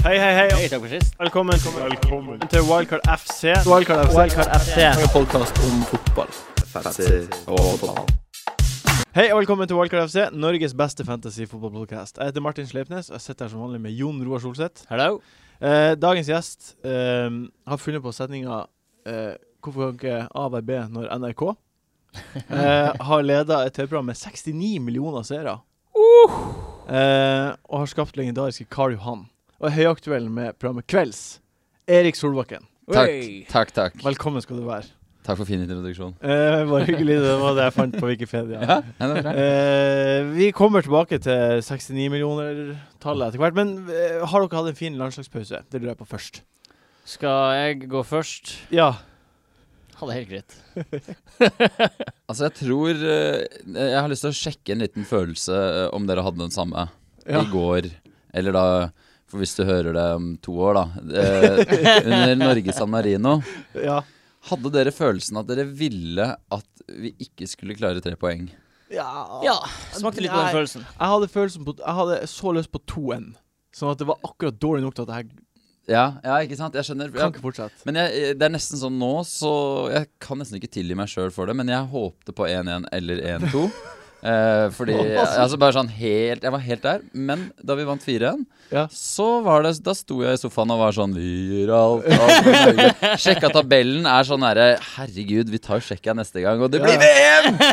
Hei, hei, hei. takk for sist. Velkommen, til Wildcard FC. Wildcard FC. Wildcard FC. En podkast om fotball. Hei og velkommen til Wildcard FC, Norges beste fantasy-fotballpodcast. Jeg heter Martin Sleipnes, og jeg sitter her som vanlig med Jon Roar Solseth. Hello. Eh, dagens gjest eh, har funnet på setninga eh, 'Hvorfor kan ikke A være B når NRK?' Eh, har leda et TV-program med 69 millioner seere. Eh, og har skapt legendariske Karl Johan. Og er høyaktuell med programmet Kvelds. Erik Solbakken, Takk, Oi. takk, takk. velkommen skal du være. Takk for fin introduksjon. Eh, bare hyggelig, det var det jeg fant på Wikipedia. Ja, ja, det var bra. Eh, vi kommer tilbake til 69 millioner-tallet etter hvert. Men eh, har dere hatt en fin landslagspause? Det lurer jeg på først. Skal jeg gå først? Ja. Ha det helt greit. Altså, jeg tror eh, Jeg har lyst til å sjekke en liten følelse eh, om dere hadde den samme ja. i går, eller da for hvis du hører det om to år, da. Eh, under Norge-San Marino. Ja. Hadde dere følelsen at dere ville at vi ikke skulle klare tre poeng? Ja, smakte litt på Nei. den følelsen. Jeg hadde følelsen på Jeg hadde så lyst på 2-1. Sånn at det var akkurat dårlig nok til at jeg Ja, ja ikke sant? Jeg skjønner. kan Ja. ikke fortsette. Men jeg, det er nesten sånn nå, så jeg kan nesten ikke tilgi meg sjøl for det, men jeg håpte på 1-1 eller 1-2. Eh, fordi altså bare sånn helt Jeg var helt der, men da vi vant 4-1, Ja. så var det Da sto jeg i sofaen og var sånn Vi gjør alt, alt for Norge. Sjekka tabellen er sånn herre Herregud, vi tar jo sjekka neste gang, og det blir VM!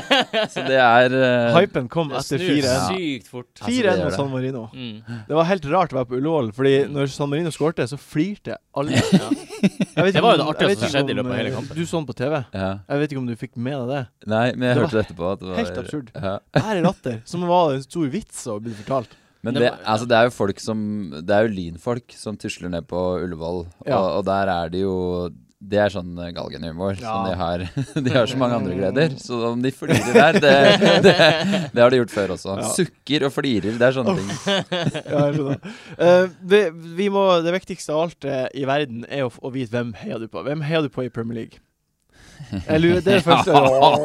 Så det er eh, Hypen kom etter snur 4-1. sykt fort. Altså, det 4-1 gjør mot det. San Marino. Mm. Det var helt rart å være på Ullevål, Fordi når San Marino skårte, så flirte alle. Ja. Jeg vet Det ikke var jo om- det jeg artigste vet som ikke skjedde i om, løpet av hele eh, kampen. Du så den på TV. ja. Jeg vet ikke om du fikk med deg det. Nei, men jeg Det var hørte det etterpå. At det var, Helt absurd. Ja. Her er latter, som var en stor vits å bli fortalt. Men Det det, var- altså, det er jo folk som Det er jo lynfolk som tusler ned på Ullevål, Ja. og, og der er det jo det er sånn eh, galgenhumor Ja. som de har. De har så mange andre gleder. Så om de flirer der, det, det, det har de gjort før også. Ja. Sukker og flirer, det er sånne ting. Ja, jeg skjønner. Eh, vi, vi må, det viktigste av alt eh, i verden er å, f- å vite hvem heier du på. Hvem heier du på i Premier League? Jeg lurer, det er det første.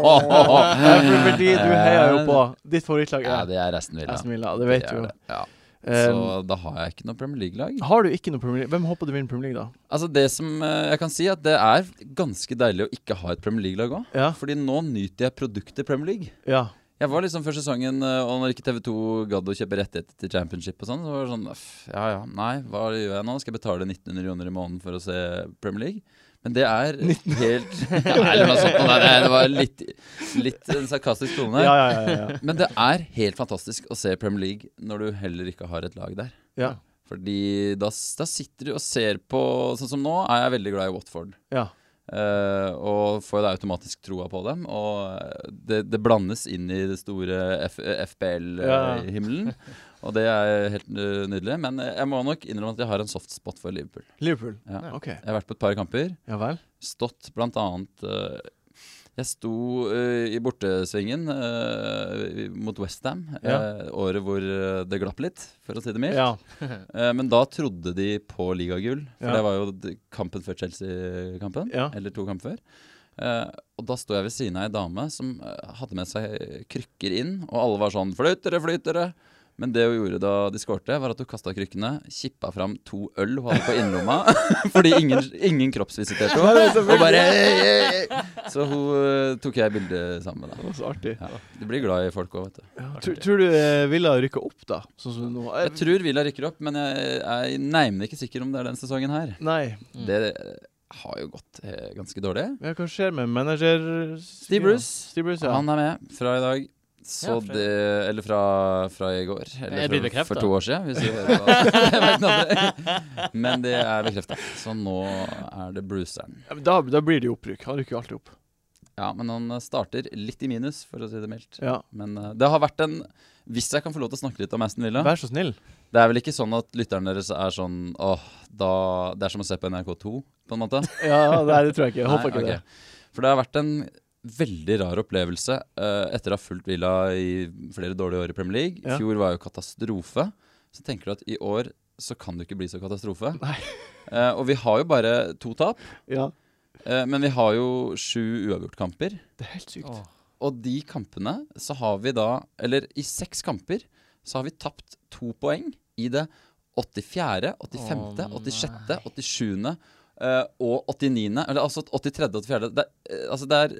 Ja, for- Fordi du heier jo på ditt favorittlag. Ja, Ja, det er resten Villa. Aston Villa, det vet Det du er jo. det, Ja. Eh, Så da har jeg ikke noe Premier League-lag. har du ikke noe Premier League? Hvem håper du vinner Premier League, da? Altså Det som eh, jeg kan si, at det er ganske deilig å ikke ha et Premier League-lag òg. Ja. Fordi nå nyter jeg produktet Premier League. Ja. Jeg var liksom før sesongen, eh, og når ikke TV2 gadd å kjøpe rettigheter til championship og sånn, så var det sånn «Øff, Ja ja, nei, hva gjør jeg nå? Skal jeg betale 1900 kroner i måneden for å se Premier League? Men det er helt ja, nei, det, var sånn, nei, nei, det var litt, litt en sarkastisk tone. Ja, ja, ja, ja, ja. Men det er helt fantastisk å se Premier League når du heller ikke har et lag der. ja. Fordi da, s- da sitter du og ser på Sånn som nå er jeg veldig glad i Watford. ja. Eh, og får jo da automatisk troa på dem. Og eh, det, det blandes inn i det store Ja. FBL-himmelen. Og det er helt eh, nydelig. Men eh, jeg må nok innrømme at jeg har en soft spot for Liverpool. Liverpool. Ja. OK. Jeg har vært på et par kamper. Ja vel. Stått blant annet eh, Jeg sto eh, i bortesvingen eh, mot Westham. Ja. året hvor eh, det glapp litt, for å si det mildt. Ja. Eh, Men da trodde de på ligagull, for Ja. det var jo d- kampen før Chelsea-kampen. Ja. Eller to kamper før. Eh, og da sto jeg ved siden av ei dame som eh, hadde med seg eh, krykker inn, og alle var sånn 'flytt dere, flytt dere'. Men det hun gjorde da de skårte, var at hun kasta krykkene, kippa fram to øl hun hadde på innerlomma, fordi ingen, ingen kroppsvisiterte henne. Og bare «Hei, hei, hei». Så hun eh, tok jeg bilde sammen med, Det da. var så artig. Ja. Du blir glad i folk òg, vet du. Tror, tror du eh, Villa rykker opp, da? Sånn som det nå Jeg tror Villa rykker opp, men jeg er nærmere ikke sikker om det er den sesongen her. Nei. Mm. Det har jo gått eh, ganske dårlig. Ja, hva skjer med manager Steve Bruce, Steve Bruce, ja. han er med fra i dag. Så Ja, fra- det Eller fra, fra i går. Er Eller det fra, bekreftet? for to år siden. Hvis vi hører hva- Jeg vet ikke om det- Men det er bekrefta. Så nå er det Bruceren. Ja, men da, da blir det jo opprykk. Han rykker jo alltid opp. Ja, men han starter litt i minus, for å si det mildt. Ja. Men eh, det har vært en Hvis jeg kan få lov til å snakke litt om Aston Villa Vær så snill. Det er vel ikke sånn at lytterne deres er sånn åh, da Det er som å se på NRK2, på en måte. Ja, nei, det tror jeg ikke. Jeg håper Nei, ikke ok. For det har vært en veldig rar opplevelse eh, etter å ha fulgt Villa i flere dårlige år i Premier League. I Ja. fjor var jo katastrofe. Så tenker du at i år så kan det ikke bli så katastrofe. Nei. Eh, og vi har jo bare to tap, det. Ja. eh, men vi har jo sju uavgjort-kamper. Det er helt sykt. Åh. Og de kampene så har vi da Eller i seks kamper så har vi tapt to poeng i det 84., 85., Å, 86., 87. eh, og 89. Eller altså 83., 84. Det, er, eh, altså det er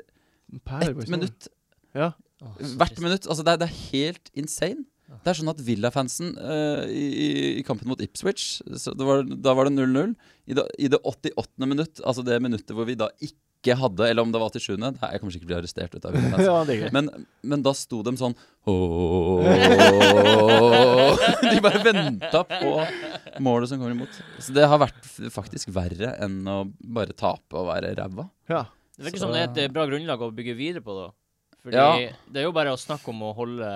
Perler på ett historien. minutt Ja. Å, så hvert trist. minutt. Altså det, er, det er helt insane. Det er sånn at Villa-fansen eh, i, i- i kampen mot Ipswich så det var, Da var det 0-0. I, det- I det 88. minutt, altså det minuttet hvor vi da ikke hadde Eller om det var 87. Nei, jeg kommer sikkert til å bli arrestert. Ut av Villa-fansen. ja, det er greit. Men, men da sto de sånn «Ååå». De bare venta på målet som kommer imot. Så det har vært f- faktisk verre enn å bare tape og være ræva. Ja. Det virker som det er et eh, bra grunnlag å bygge videre på, da. Fordi Ja. det er jo bare å snakke om å holde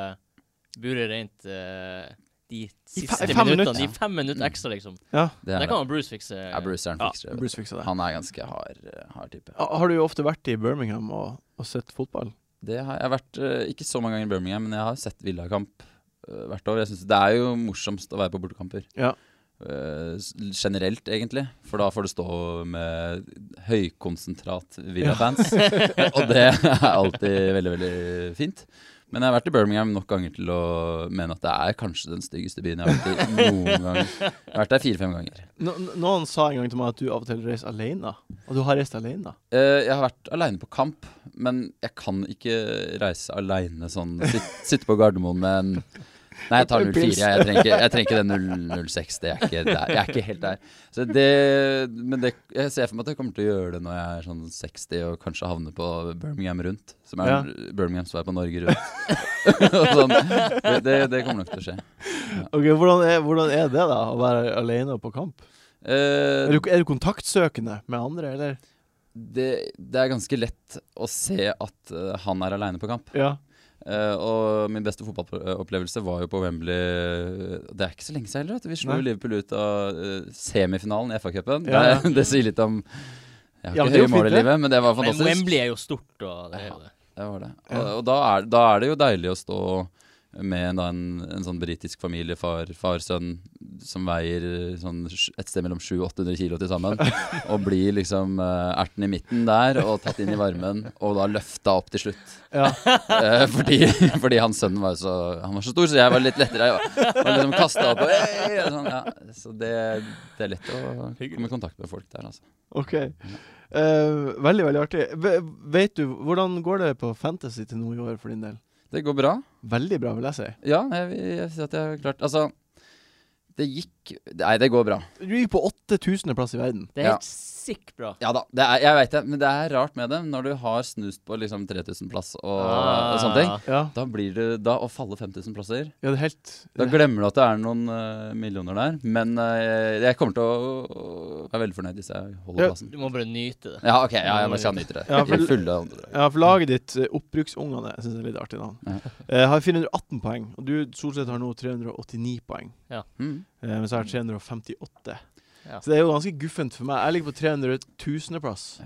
buret rent eh, de siste fe- fem minuttene. minutter. De fem minutter ekstra, liksom. ja. Det Det er kan det. jo Bruce fikse. Ja, Bruce er en ja. fikser. Bruce fiksa det. Han er ganske hard, hard type. Ha- Har du jo ofte vært i Birmingham og, og sett fotball? Det har jeg vært eh, ikke så mange ganger i Birmingham, men jeg har sett Villakamp eh, hvert år. Jeg synes Det er jo morsomst å være på bortekamper. Ja. Eh, s- generelt, egentlig. For da får du stå med høykonsentrat Villa-fans. og det er alltid veldig, veldig fint. Men jeg har vært i Birmingham nok ganger til å mene at det er kanskje den styggeste byen jeg har vært i noen gang. Jeg har vært der fire-fem ganger. No, noen sa en gang til meg at du av og til reiser alene. Og du har reist alene. Eh, jeg har vært aleine på kamp, men jeg kan ikke reise aleine sånn. Sitte, sitte på Gardermoen med en Nei, jeg tar 04. Jeg, jeg, trenger, ikke- jeg trenger ikke den 006. Det er ikke der. Jeg er ikke helt der. Så det, men det, jeg ser for meg at jeg kommer til å gjøre det når jeg er sånn 60 og kanskje havner på Birmingham rundt. Som er Ja. Birmingham som er på Norge rundt. Og sånn. det, det, det kommer nok til å skje. Ok, Hvordan er, hvordan er det, da? Å være alene på kamp? Er Eh, du, er du kontaktsøkende med andre, eller? det, det er ganske lett å se at eh, han er aleine på kamp. Ja. Eh, og min beste fotballopplevelse var jo på Wembley eh, Det er ikke så lenge siden heller. At vi slo Nei. Liverpool ut av eh, semifinalen i FA-cupen. Ja, ja. Det, det sier litt om Jeg har Ja, men det er ikke høye jo mål i fint, det. livet, men det var Men fantastisk. Wembley er jo stort, og det er jo det. Det var det. Ja. Og, og da, er, da er det jo deilig å stå med da, en, en sånn britisk familie, far, far, sønn, som veier eh, sånn, sj- et sted mellom 700-800 kilo til sammen. Og blir liksom eh, erten i midten der, og tatt inn i varmen, og da løfta opp til slutt. ja. Eh, fordi, fordi hans sønn var jo så Han var så stor, så jeg var litt lettere. Jeg var, var liksom kastet opp og, «Hei!» og sånn, ja. Så det, det er lett å komme i kontakt med folk der, altså. OK. Eh, veldig, veldig artig. Ve- vet du, hvordan går det på Fantasy til nå i år for din del? Det går bra. Veldig bra, vil jeg si. Ja, jeg, vil- jeg sier at jeg har klart Altså, det gikk Nei, det går bra. Du gikk på 8000. plass i verden. Det er Ja. helt sick bra. Ja da, det er, jeg veit det, men det er rart med det når du har snust på liksom 3000-plass og, og Ah. sånne ting. Ja, Da blir det Da å falle 5000 plasser ja det er helt Da glemmer du at det er noen eh, millioner der. Men eh, jeg kommer til å, å være veldig fornøyd hvis jeg holder Ja. plassen. Du må bare nyte det. Ja, ok, ja, jeg bare skal nyte det. Ja, I for- fulle åndedrag. Ja, for laget ditt, eh, Oppbruksungene, jeg synes det er litt artig navn, Ja. eh, har 418 poeng. Og du, Solseth, har nå 389 poeng. Mm. Eh, mens jeg har 358. Ja. Så det er jo ganske guffent for meg. Jeg ligger på 300 000.-plass.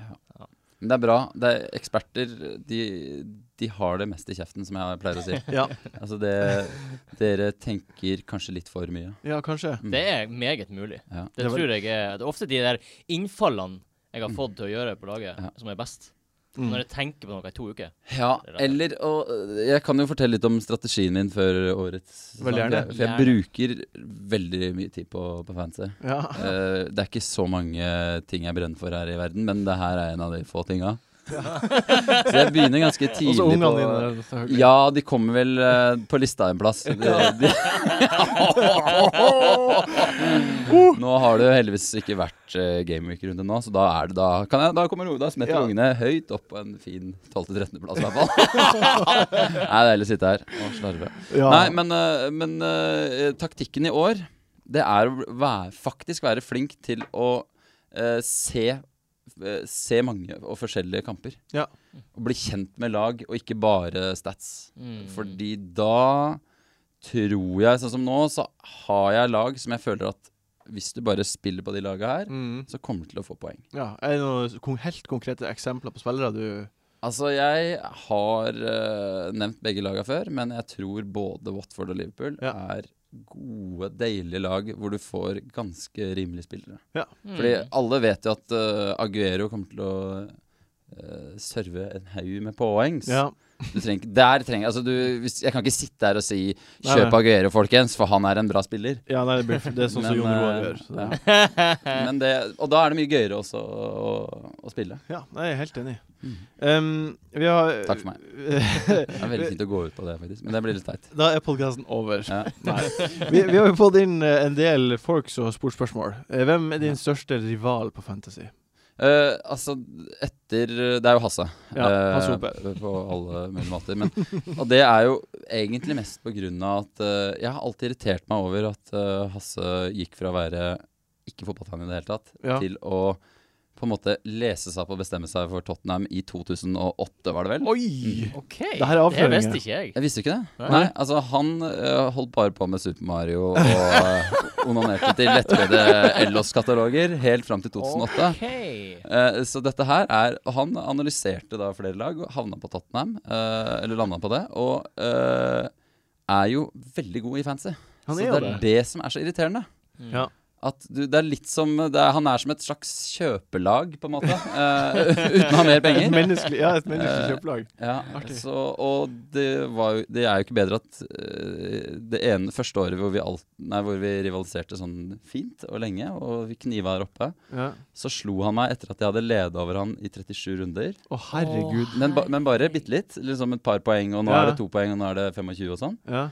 Men det er bra. Det er eksperter de, de har det mest i kjeften, som jeg pleier å si. Ja. Altså det, dere tenker kanskje litt for mye. ja, kanskje. Mm. Det er meget mulig. Ja. Det Det var- tror jeg er Det er ofte de der innfallene jeg har fått til å gjøre på laget, Mm. Ja. som er best. Mm. Når jeg tenker på noe i to uker. Ja, eller og øh, Jeg kan jo fortelle litt om strategien min før årets sesong, sånn Veldig Mm. gjerne. For jeg bruker veldig mye tid på, på fancy. Ja. Eh, det er ikke så mange ting jeg brenner for her i verden, men det her er en av de få tinga. så jeg begynner ganske tidlig Også ungene på dine. selvfølgelig. Ja, de kommer vel eh, på lista en plass. De, de... nå har det jo heldigvis ikke vært uh, gameweek-runde nå, så da, er det, da, kan jeg, da kommer ro- da smetter Ja. ungene høyt opp på en fin 12.-13.-plass i hvert fall. Nei, det er deilig å sitte her og slarve. Ja. Nei, men, eh, men eh, taktikken i år, det er å være, faktisk være flink til å eh, se eh, Se mange og forskjellige kamper. Ja. Og bli kjent med lag, og ikke bare stats. Mm. Fordi da tror jeg, sånn som nå, så har jeg lag som jeg føler at hvis du bare spiller på de laga her, Mm. så kommer du til å få poeng. ja. Er det noen kon- helt konkrete eksempler på spillere du Altså, jeg har eh, nevnt begge laga før, men jeg tror både Watford og Liverpool Ja. er gode, deilige lag hvor du får ganske rimelige spillere. Mm. Fordi alle vet jo at eh, Aguero kommer til å eh, serve en haug med poengs. Ja. Du trenger, ikke- der trenger, altså du, hvis, jeg kan ikke sitte her og si Nei, 'kjøp nei. Aguero, folkens', for han er en bra spiller. Ja, nei, det, blir, det er sånn som Men, Jon Roar eh, gjør. Så det, ja. Eh. Men det, og da er det mye gøyere også å, å, å spille. ja, nei, jeg er helt enig. Um, vi har Mm. Takk for meg. Det er veldig fint å gå ut på det, faktisk. Men det blir litt teit. da er podkasten over. Ja. Nei. Vi, vi har jo fått inn eh, en del folks og sportsspørsmål. Eh, Hvem er din største rival på Fantasy? Eh, altså, etter Det er jo Hasse. Ja, eh, Hasse Hope. på alle mulige måter. Men, og det er jo egentlig mest på grunn av at eh, jeg har alltid irritert meg over at eh, Hasse gikk fra å være ikke fotballfan i det hele tatt, Ja. til å på en måte lese seg opp og bestemme seg for Tottenham i 2008, var det vel? Oi! OK. Det her er avsløringer. visste ikke jeg. Jeg visste ikke det. Nei. Nei, altså Han eh, holdt bare på med Super Mario og eh, onanerte til lettbøyde Ellos-kataloger helt fram til 2008. Ok. Eh, så dette her er og Han analyserte da flere lag og havna på Tottenham. eh, eller landa på det. Og eh, er jo veldig god i fancy. Han er så det jo er det. det som er så irriterende. Mm. Ja. At du, det er litt som det er, Han er som et slags kjøpelag, på en måte. eh, uten å ha mer Et penger. menneskelig, ja, et menneskelig Eh, kjøpelag. Ja, Artig. så, og det, var jo, det er jo ikke bedre at eh, det ene første året hvor vi, alt, nei, hvor vi rivaliserte sånn fint og lenge, og vi kniva her oppe, Ja. så slo han meg etter at jeg hadde leda over han i 37 runder. Å, herregud. Men, ba, men bare bitte litt. Liksom et par poeng, og nå Ja. er det to poeng, og nå er det 25 og sånn. Ja.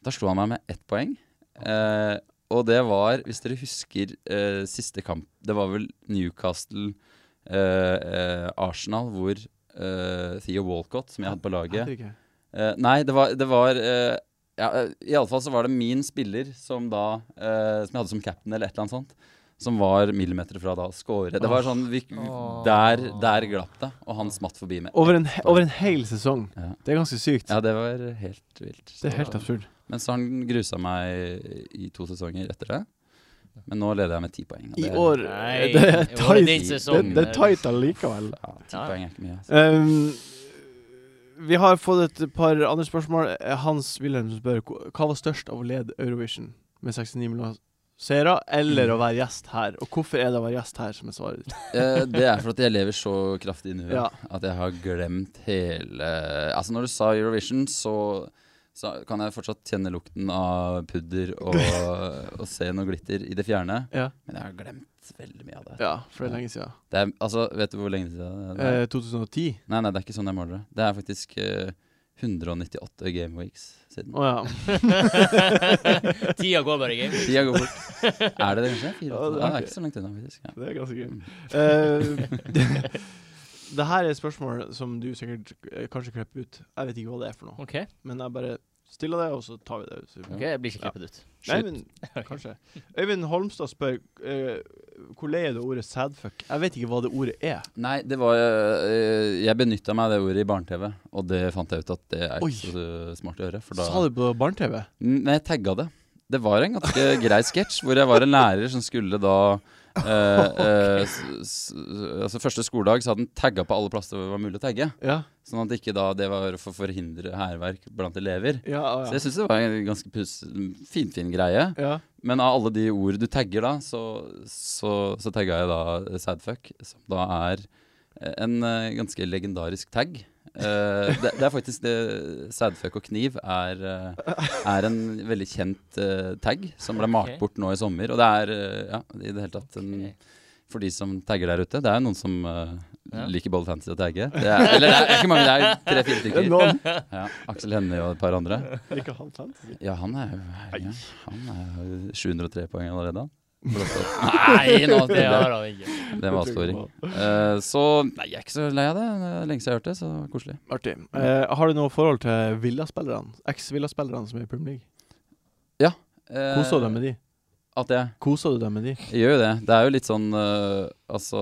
Da slo han meg med ett poeng. Eh, og det var, hvis dere husker eh, siste kamp Det var vel Newcastle eh, eh, Arsenal, hvor eh, Theo Walcott, som jeg hadde på laget Herregud. eh, Nei, det var, det var eh, ja, eh, Iallfall så var det min spiller som da eh, Som jeg hadde som cap'n, eller et eller annet sånt. Som var millimeter fra da å score. Det var sånn vi, der, der glapp det, og han smatt forbi med Over, en, he- over en hel sesong. Ja. Det er ganske sykt. Ja, det var helt vilt. Det er helt absurd. Men så har han grusa meg i to sesonger etter det. Men nå leder jeg med ti poeng. og I det er- år Nei, Det er det sånn, eh, var tight. din Det, sesong. det er tight allikevel. Ja, ti Ja. poeng er ikke mye. Altså. Um, vi har fått et par andre spørsmål. Eh, Hans Wilhelm som spør "Hva- hva var størst av å lede Eurovision med 69 millioner seere, eller å være gjest her? Og hvorfor er det å være gjest her som er svaret ditt? Eh, det er fordi jeg lever så kraftig i nuet Ja. at jeg har glemt hele Altså, når du sa Eurovision, så, så kan jeg fortsatt kjenne lukten av pudder og, og se noe glitter i det fjerne. Ja. Men jeg har glemt veldig mye av det. ja, for det er lenge siden. det er, altså, vet du hvor lenge siden det er? Eh, 2010? Nei, nei, det er ikke sånn jeg måler det. Det er faktisk eh, 198 game weeks siden. Å ja. Tida går bare i game. Tida går bort. Er det det, kanskje? Fire, Ja, det er åtte? Ja, det ikke- er ikke så langt unna, faktisk. Ja. Det er ganske gøy. Eh, det her er et spørsmål som du sikkert eh, kanskje klipper ut. Jeg vet ikke hva det er for noe, OK, men jeg bare stiller det, og så tar vi det. Så ok, jeg blir ikke Ja. klippet ut. Nei, Shit. men kanskje. Øyvind Holmstad spør eh, hvor lei er det ordet 'sadfuck'? Jeg vet ikke hva det ordet er. Nei, det var øh, Jeg benytta meg av det ordet i barne-TV, og det fant jeg ut at det er Oi. ikke så øh, smart å gjøre. For da Sa du på barne-TV? Nei, jeg tagga det. Det var en ganske grei sketsj hvor jeg var en lærer som skulle da øh, øh, s- s- altså Første skoledag så hadde han tagga på alle plasser hvor det var mulig å tagge. Ja. Sånn at ikke da det var for å forhindre hærverk blant elever. Ja, å, ja. Så jeg syns det var en ganske pus- finfin greie. ja. Men av alle de ord du tagger da, så, så, så tagga jeg da sadfuck, som da er en eh, ganske legendarisk tag. Eh, det, det er faktisk det Sadfuck og kniv er, eh, er en veldig kjent eh, tag som ble malt Ok. bort nå i sommer. Og det er eh, ja, i det hele tatt en, Ok. For de som tagger der ute, det er noen som eh, Ja. liker Bold Fantasy å tagge. Det er, eller det er ikke mange, det er tre-fire Det er stykker. noen. Ja, Aksel Hennie og et par andre. Ikke han sant? Ja, han er jo ja, Han er jo 703 poeng allerede, han. Nei, nå, det har han ikke. Det var avsporing. Eh, så Nei, jeg er ikke så lei av det. Det er lenge siden jeg har hørt det, så det var koselig. Artig. Eh, har du noe forhold til Villa-spillerne? Eks-Villa-spillerne som er i Premier League? Eh, Koser du deg med de? At jeg Koser du deg med de? jeg gjør jo det. Det er jo litt sånn eh, Altså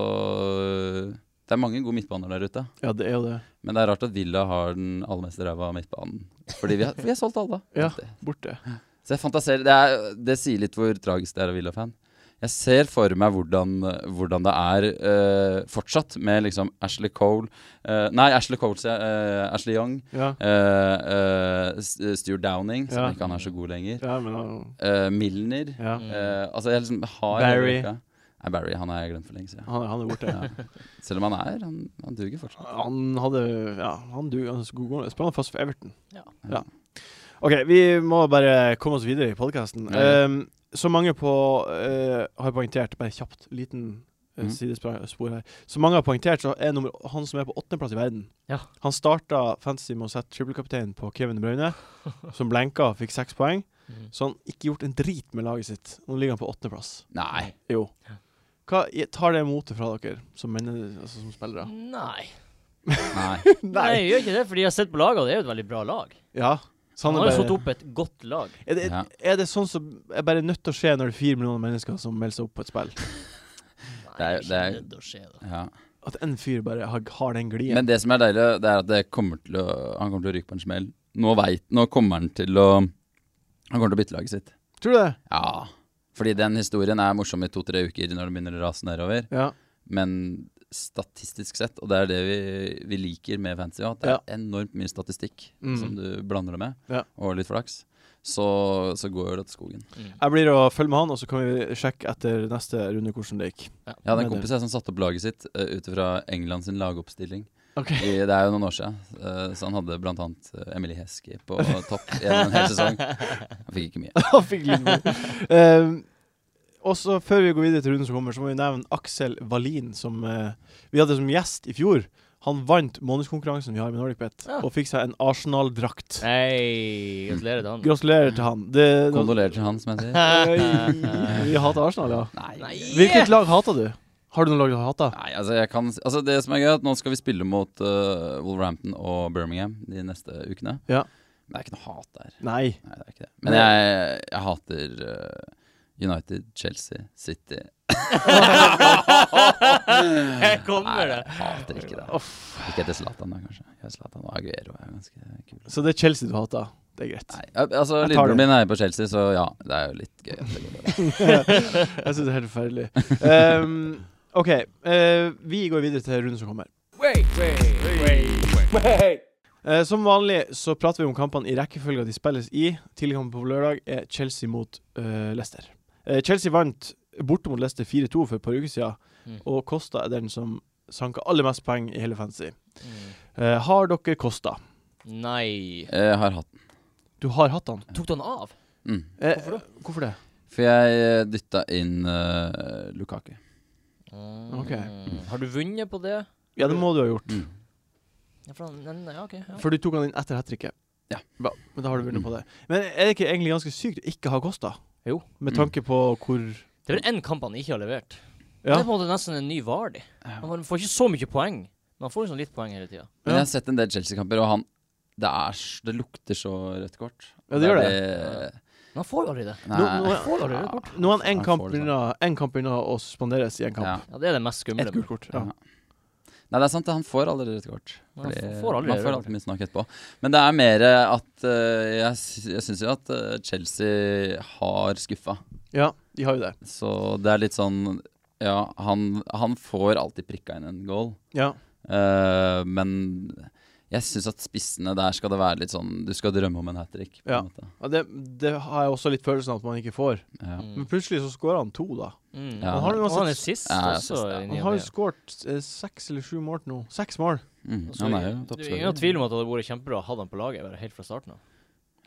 Det er mange gode midtbaner der ute. Ja, det er jo det. Men det er rart at Villa har den aller mest ræva midtbanen. Fordi vi har, vi har solgt alle. Ja. Borte. Så jeg fantaserer det, er, det sier litt hvor tragisk det er å være Villa-fan. Jeg ser for meg hvordan, hvordan det er eh, fortsatt med liksom Ashley Cole eh, Nei, Ashley Cole, sier jeg. eh, Ashley Young. Ja. eh, eh, S- Stuart Downing, Ja. som ikke han er så god lenger. ja, men han- eh, Milner. ja. Mm. eh, altså, jeg liksom har Barry. hele rekka. Nei, Barry han er glemt for lenge siden. Han, han er borte. Ja. Selv om han er, han, han duger fortsatt. Han hadde Ja, han duger ganske god gående. Sprang fast for Everton. Ja. ja. OK, vi må bare komme oss videre i podkasten. Ja, ja. så mange på eh, har poengtert Bare kjapt, liten eh, Mhm. sidespor her. Så mange har poengtert, så er nummer, han som er på åttendeplass i verden Ja. Han starta fantasy med å sette trippelkapteinen på Kevin De Bruyne, som blenka og fikk seks poeng. Mm. Så han ikke gjort en drit med laget sitt. Nå ligger han på åttendeplass. Nei. Jo. Hva i- tar det motet fra dere som, menne- altså, som spillere? Nei. Nei. Nei, jeg gjør ikke det, fordi jeg har sett på laget, og det er jo et veldig bra lag. Ja. Så Han han har jo Sånn er, satt bare, opp et godt lag. er, det, Ja. er det sånn som er bare nødt til å skje når det er fire millioner mennesker som melder seg opp på et spill? Nei, Det er- det det er er- ikke nødt til å skje, da. Ja. At en fyr bare har, har den glien? Men det som er deilig, det er at det kommer til å, han kommer til å ryke på en smell. Nå, vet, nå kommer han til å Han kommer til å bytte laget sitt. Tror du det? Ja. Fordi den historien er morsom i to-tre uker når det begynner å rase nedover. Ja. Men statistisk sett, og det er det vi, vi liker med fantasy, at det er enormt mye statistikk Mm. som du blander det med, Ja. og litt flaks, så, så går det til skogen. Mm. Jeg blir å følge med han, og så kan vi sjekke etter neste runde hvordan det gikk. Jeg hadde en Med kompis jeg som satte opp laget sitt uh, ut fra England sin lagoppstilling. Ok. I, det er jo noen år siden, eh, så han hadde blant annet eh, Emily Heskey på topp gjennom en hel sesong. Han fikk ikke mye. Han fikk litt mye. Ehm, og så Før vi går videre til runden som kommer, så må vi nevne Aksel Wallin, som eh, vi hadde som gjest i fjor. Han vant månedskonkurransen vi har med Nordic Bet, Ja. og fikk seg en Arsenal-drakt. Nei, gratulerer til han. Gratulerer til han. Det, Kondolerer til han, som jeg sier. Øy, vi hater Arsenal, ja. Nei. Hvilket lag hater du? Har du noe lag du hater? Nei, altså, jeg kan, altså Det som er gøy, er at nå skal vi spille mot eh, Wolverhampton og Birmingham de neste ukene. Ja. Men det er ikke noe hat der. Nei. Nei, det er ikke det. Men jeg, jeg hater eh, United, Chelsea, City Her kommer det. jeg hater ikke det. Ikke etter Zlatan, da, kanskje. Jeg er Zlatan og Aguero er ganske kul. Så det er Chelsea du hater. Det er greit. Nei, al- altså Jeg tar Lillebroren det. min er på Chelsea, så ja, det er jo litt gøy. At det går bra. Jeg syns det er helt forferdelig. Ehm, OK, eh, vi går videre til runden som kommer. Eh, som vanlig så prater vi om kampene i rekkefølga de spilles i. Tidligkampen på lørdag er Chelsea mot eh, Leicester. Eh, Chelsea vant borte mot Leicester 4-2 for et par uker siden, Mm. og Costa er den som sanka aller mest poeng i hele fantasy. Mm. Eh, har dere Costa? Nei. Jeg Eh, har hatt den. Du har hatt han. Tok du han av? Mm. Eh, hvorfor det? For jeg dytta inn eh, Lukaku. Mm. Ok. Har du vunnet på det? Ja, det må du ha gjort. Mm. Ja, for han, nei, ja, ok. Ja. For du tok han inn etter hat tricket. Ja. Bra. Men da har du vunnet Mm. på det. Men er det ikke egentlig ganske sykt å ikke ha Costa? Jo. Med Mm. tanke på hvor Det er vel én kamp han ikke har levert. Det Ja. er på en måte nesten en ny Vardy. Han får ikke så mye poeng, men han får liksom litt poeng hele tida. Men Ja. jeg har sett en del Chelsea-kamper, og han det, er, s- det lukter så rødt kort. Ja, det gjør Men han får jo aldri det. Nei, Nå- nå- Får aldri rødt kort. Nå er han én Han kamp får det sånn. unna en kamp unna å suspenderes i en kamp. ja. Ja, Det er det mest skumle. Et gult kort. Ja. Ja. Nei, det er sant. det, Han får aldri rødt kort. Ja, Fordi han får aldri man rødt kort. får alltid mye snakk etterpå. Men det er mer at eh, jeg, sy- jeg syns jo at eh, Chelsea har skuffa. ja, de har jo det. Så det er litt sånn Ja, han, han får alltid prikka inn en goal. Ja. Eh, men jeg syns at spissene der skal det være litt sånn Du skal drømme om en hat trick. på Ja. en måte. Ja, det, det har jeg også litt følelsen av at man ikke får. Ja. Men plutselig så skårer han to, da. Mm. Ja, han har jo Og han er uansett sist Ja, ja, også. sist, ja. i Han ny og har jo ne. skåret eh, seks eller sju mål nå. Seks mål! Mm, Altså, han er jo Det er ingen toppskårer. tvil om at det hadde vært kjempebra å ha han på laget bare helt fra starten av.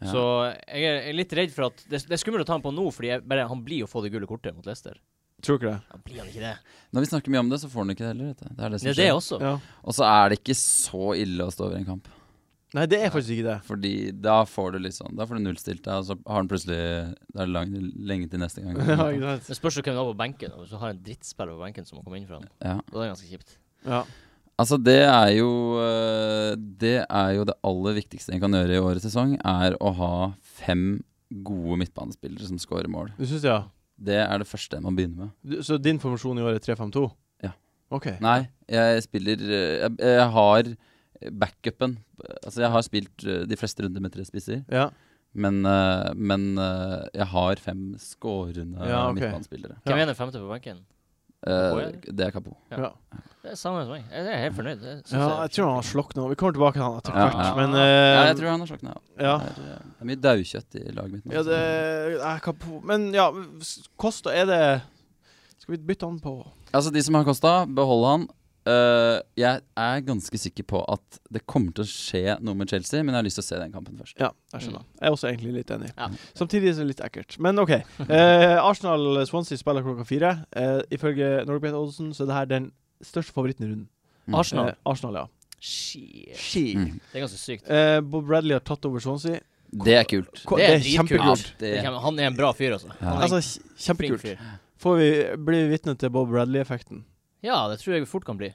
Ja. Så jeg er jeg er litt redd for at Det, det er skummelt å ta han på nå, fordi jeg bare, han blir å få det gule kortet mot Leicester. Tror du ikke det? Han blir han ikke det. Når vi snakker mye om det, så får han ikke det heller. Vet du. Det er det Det som er det skjer. også. Ja. Og så er det ikke så ille å stå over en kamp. Nei, det er faktisk ikke det. Fordi da får du litt sånn Da får du nullstilt deg, og så har han plutselig Det er lang, lenge til neste gang. Ja, ikke sant? Det spørs jo hvem du har på benken. og Hvis du har en drittspiller på benken som må komme inn for han, Ja. da er det ganske kjipt. Ja. Altså, det er jo øh, Det er jo det aller viktigste en kan gjøre i årets sesong, er å ha fem gode midtbanespillere som scorer mål. Du syns det, ja? Det er det første man begynner med. Du, så din formasjon i år er 3-5-2? Ja. OK. Nei, jeg spiller øh, Jeg, jeg har backupen. Altså, jeg har spilt øh, de fleste runder med tre spisser, Ja. men, øh, men øh, jeg har fem skårende Ja, ok. midtbanespillere. Ja. Hvem er den femte på benken? Eh, eller? det er Kapo. Ja. Ja. Det er samme som meg. Jeg er helt fornøyd. Det synes ja, jeg tror han har slokna. Vi kommer tilbake til han etter Ja, hvert, ja. men Ja, eh, jeg tror han har slakna. ja. Ja. Det, er- eh, det er mye daukjøtt i laget mitt nå. Ja, det jeg kan på, Men ja, s- Kosta er det Skal vi bytte han på Altså, de som har Kosta, behold han. Eh, jeg er ganske sikker på at det kommer til å skje noe med Chelsea, men jeg har lyst til å se den kampen først. Ja, jeg skjønner. Jeg er også egentlig litt enig. Ja. Samtidig er det litt ekkelt. Men OK. Eh, Arsenal-Swansea spiller klokka fire. Eh, ifølge Norgebeth Oddsen så er det her den største favoritten i runden. Mm. Arsenal. Eh, Arsenal, ja. Shit. She. Mm. Det er ganske sykt. Eh, Bob Bradley har tatt over Swansea. Det er kult. Ko- Det Det er er dritkult. kjempekult. Det, Det kan- Han er en bra fyr, altså. Ja. Han er en Altså, kj- flink kjempekult. fyr. Får vi, blir vi vitne til Bob Bradley-effekten? Ja, det tror jeg fort kan bli.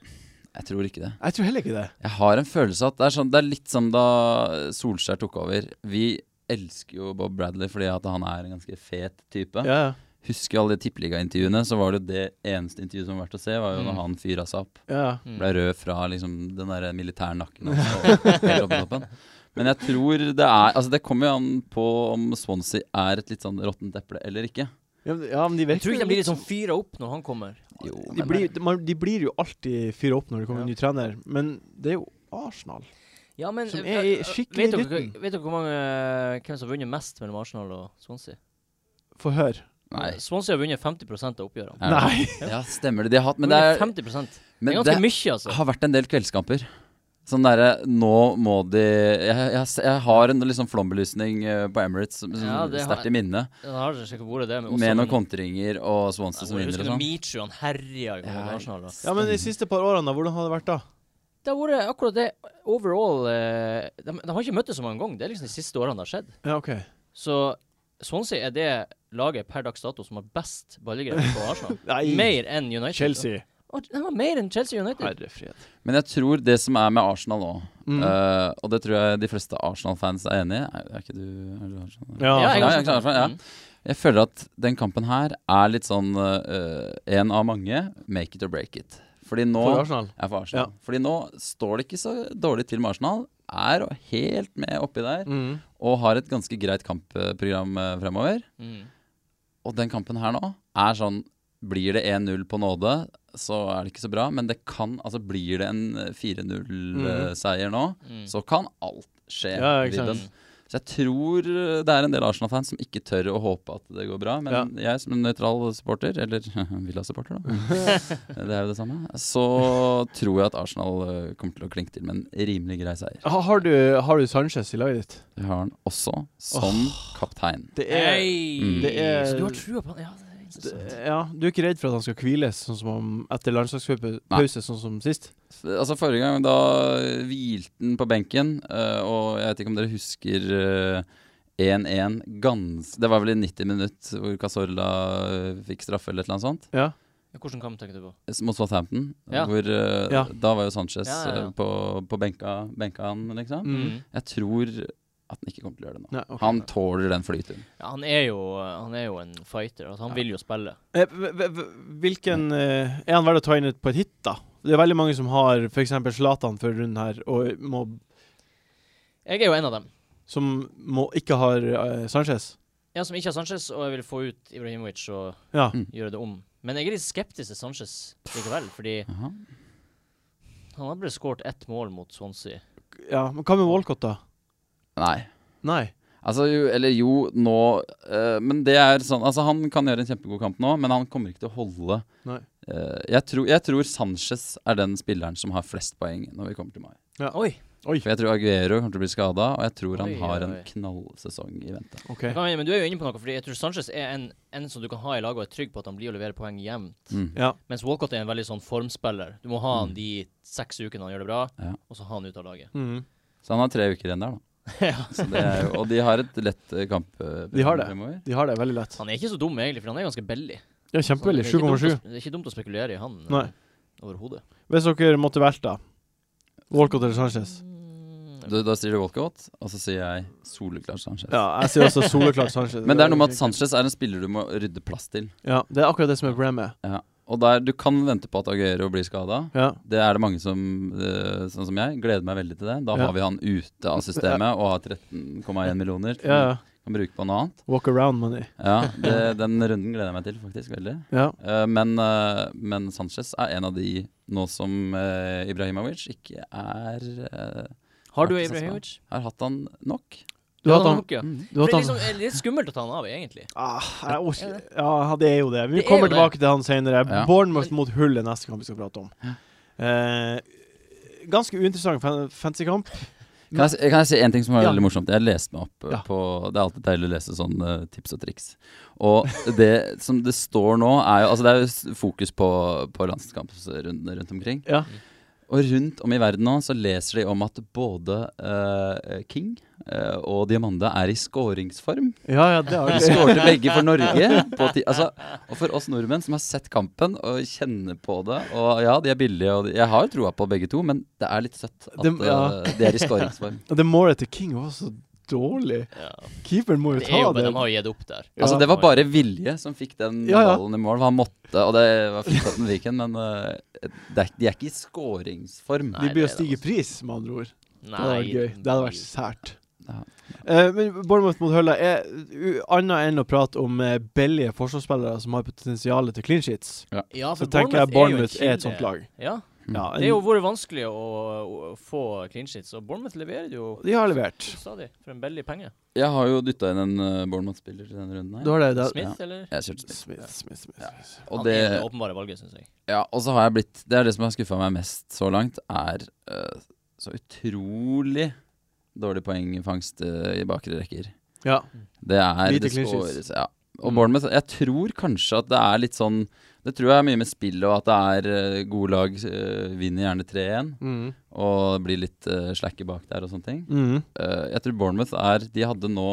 jeg tror ikke det. Jeg tror heller ikke det. Jeg har en følelse at det er, sånn, det er litt som da Solskjær tok over. Vi elsker jo Bob Bradley fordi at han er en ganske fet type. Ja, ja. Husker alle de tippeligaintervjuene, så var det jo det eneste intervjuet som var verdt å se, var jo når Mm. han fyra seg opp. ja. Mm. Ble rød fra liksom den der militære nakken hans og helt opp i toppen. Men jeg tror det er Altså, det kommer jo an på om Swansea er et litt sånn råttent eple eller ikke. ja, men- ja men de Jeg virker tror ikke de blir litt sånn fyra opp når han kommer. Jo, de blir, de, man, de blir jo alltid fyra opp når det kommer en Ja. ny trener, men det er jo Arsenal. Ja, men Som øh, er i øh, skikkelig vet dere, rytmen. vet dere hvor mange, eh, hvem som har vunnet mest mellom Arsenal og Swansea? Få høre. Nei. Swansea har vunnet 50 av oppgjørene. Er det- Nei! Ja, stemmer det. De har hatt Men det Vunnet er, 50 Det er men ganske det, mye, altså. Det har vært en del kveldskamper. Sånn derre Nå må de Jeg, jeg, jeg har en liksom flombelysning eh, på Emirates som, som Ja, det har- sterkt i minne. Jeg har sikkert vært det, men også Med noen kontringer og Swansea som Jeg vinner husker og når sånn. Michu han herja i Ja, Arsenal. Da. Ja, men de siste par årene, da, hvordan har det vært da? Det har vært akkurat det overall eh, de, de har ikke møttes så mange ganger. Det er liksom de siste årene det har skjedd. Ja, OK. Så Swansea er det laget per dags dato som har best ballegreier på Arsenal. Nei. Mer enn United. Chelsea. Og, de var mer enn Chelsea United. Herre fred. Men jeg tror det som er med Arsenal nå, Mm. eh, og det tror jeg de fleste Arsenal-fans er enig i Er, er ikke du, er du Arsenal? Ja, altså, jeg er ja, Arsenal. klart, ja. Mm. Jeg føler at den kampen her er litt sånn eh, en av mange make it or break it. Fordi nå for Arsenal. Ja, for Arsenal. Fordi nå står det ikke så dårlig til med Arsenal. Er helt med oppi der. Mm. og har et ganske greit kampprogram eh, fremover. Mm. Og den kampen her nå er sånn Blir det 1-0 på nåde, så er det ikke så bra, men det kan Altså blir det en eh, 4-0-seier nå, Mm. så kan alt skje. Ja, i ikke sant. den. Så jeg tror eh, det er en del Arsenal-fans som ikke tør å håpe at det går bra. Men jeg som en nøytral supporter, eller Villa-supporter, da. det er jo det samme. Så tror jeg at Arsenal eh, kommer til å klinke til med en rimelig grei seier. Ha, har, du, har du Sanchez i laget ditt? Vi har han også som kaptein. Det Hey! Det er- Mm. Så du har trua på han? Ja, det er det, interessant. ja, Du er ikke redd for at han skal hviles sånn som om- etter landslagspause, sånn som sist? Altså Forrige gang da hvilte han på benken, eh, og jeg vet ikke om dere husker eh, 1-1 gans... Det var vel i 90 minutt hvor Casorla eh, fikk straffe eller et eller annet sånt, Ja. Ja, Hvordan kamp tenker du på? s- mot Southampton. Ja. Hvor eh, Ja. Da var jo Sanchez Ja, ja, ja. eh, på, på benka, benka han, liksom. Mm. Jeg tror at han ikke kommer til å gjøre det nå. Nei, ok. Han tåler den flyturen. Ja, han, er jo, han er jo en fighter. Altså, han Ja. vil jo spille. Eh, v- v- v- Hvilken eh, Er han verdt å ta inn et- på et hit, da? Det er veldig mange som har f.eks. Zlatan for runden her, og må, Jeg er jo en av dem. som må, ikke har eh, Sanchez. En som ikke har Sanchez, og jeg vil få ut Ibrahimovic og Ja. Mm. gjøre det om. Men jeg er litt skeptisk til Sanchez likevel, fordi Jaha. han har bare skåret ett mål mot Swansea. ja. Men hva med Walcott, da? Nei. Nei. Altså, jo, eller jo, nå eh, Men det er sånn Altså, han kan gjøre en kjempegod kamp nå, men han kommer ikke til å holde Nei. Eh, jeg, tror, jeg tror Sanchez er den spilleren som har flest poeng når vi kommer til mai. Oi! Oi. For jeg tror Aguero kommer til å bli skada, og jeg tror Oi, han har en oi. knallsesong i vente. OK. Jeg Kan, men du er jo inne på noe, fordi jeg tror Sanchez er en, en som du kan ha i laget og er trygg på at han blir å levere poeng jevnt. Mm. Ja. Mens Walcott er en veldig sånn formspiller. Du må ha han Mm. de seks ukene han gjør det bra, Ja. og så ha han ut av laget. Mhm. Så han har tre uker igjen der, da. Så det er jo, og de har et lett eh, kamp eh, De har det. fremover. De har det veldig lett. Han er ikke så dum egentlig, for han er ganske billig. Ja, Så det Kjempevillig. er ikke dumt å- 7,7. Det er ikke dumt å spekulere i han eh, Nei. overhodet. Hvis dere måtte velge, da? Walcott eller Sanchez? Mm. Du, da sier du Walcott, og så sier jeg soleklart Sanchez. Ja, jeg sier også soleklart Sanchez. Men det er noe med at Sanchez er en spiller du må rydde plass til. Ja, det er akkurat det som er problemet. Og der, du kan vente på at Aguero blir skada. Ja. Det er det mange som, eh, sånn som jeg, gleder meg veldig til det. Da Ja. har vi han ute av systemet og har 13,1 millioner. ja, ja. Kan bruke på noe annet. Walk around money. Ja, det, den runden gleder jeg meg til, faktisk. Veldig. Ja. Eh, men, eh, men Sanchez er en av de nå som eh, Ibrahimovic ikke er eh, Har du Artig satsa. Ibrahimovic? Har hatt han nok. Du Ja, har hatt den han hooker, ja. Mm. Du For har Det er hatt liksom han eh, litt skummelt å ta han av, egentlig. ah, jeg orker, Ja, det er jo det. Vi Det er kommer jo det. tilbake til han senere. Ja. Bournemouth mot Hull er neste kamp vi skal prate om. Eh, ganske uinteressant fan- fantasykamp. Kan jeg, si- kan jeg si en ting som var Ja. veldig morsomt? Jeg leste meg opp eh, Ja. på Det er alltid deilig å lese sånn eh, tips og triks. Og det som det står nå, er jo Altså, det er jo s- fokus på, på landskampsrundene rundt omkring. Ja. Og rundt om i verden nå så leser de om at både eh, King eh, og Diamande er i skåringsform. Ja, ja, det De har vi. skårte begge for Norge. På ti altså, og for oss nordmenn som har sett kampen og kjenner på det Og ja, de er billige, og de, jeg har jo troa på begge to, men det er litt søtt at Dem- ja. eh, de er i skåringsform. Og Det målet til King var så dårlig. Keeperen må jo Det er jo, ta men det. de har jo gitt opp der. Ja. Altså Det var bare Vilje som fikk den Ja, ja. ballen i mål. Han måtte, og det var fint at den fikk den, men eh, det er, de er ikke i skåringsform. Nei. De blir å det er det stige pris, med andre ord. Nei, Det hadde vært gøy. Det hadde vært sært. Ja. Eh, men Bournemouth mot Hulla er u- annet enn å prate om eh, billige forsvarsspillere som har potensial til clean sheets. ja, for Så tenker jeg Bournemouth Altså, jo er en et sånt kilde. lag. Ja, Ja, Det er jo vært vanskelig å, å få clean sheets, og Bournemouth leverer det jo de har levert. stadig for en billig penge. Jeg har jo dytta inn en eh, Bournemouth-spiller til denne runden. Du her har det, det Smith, eller? Jeg kjørte Smith. Smith, Smith, Smith. Og Han det, er det åpenbare valget, syns jeg. ja, og så har jeg blitt Det er det som har skuffa meg mest så langt, er eh, så utrolig dårlig poengfangst eh, i bakre rekker. Ja. Det er Lite det clean sheets. scores, ja. Og Mm. Bournemouth Jeg tror kanskje at det er litt sånn Det tror jeg er mye med spillet, og at det er eh, gode lag eh, vinner gjerne 3-1. Mm. Og blir litt uh, slakke bak der og sånne ting. Mm. Eh, jeg tror Bournemouth er De hadde nå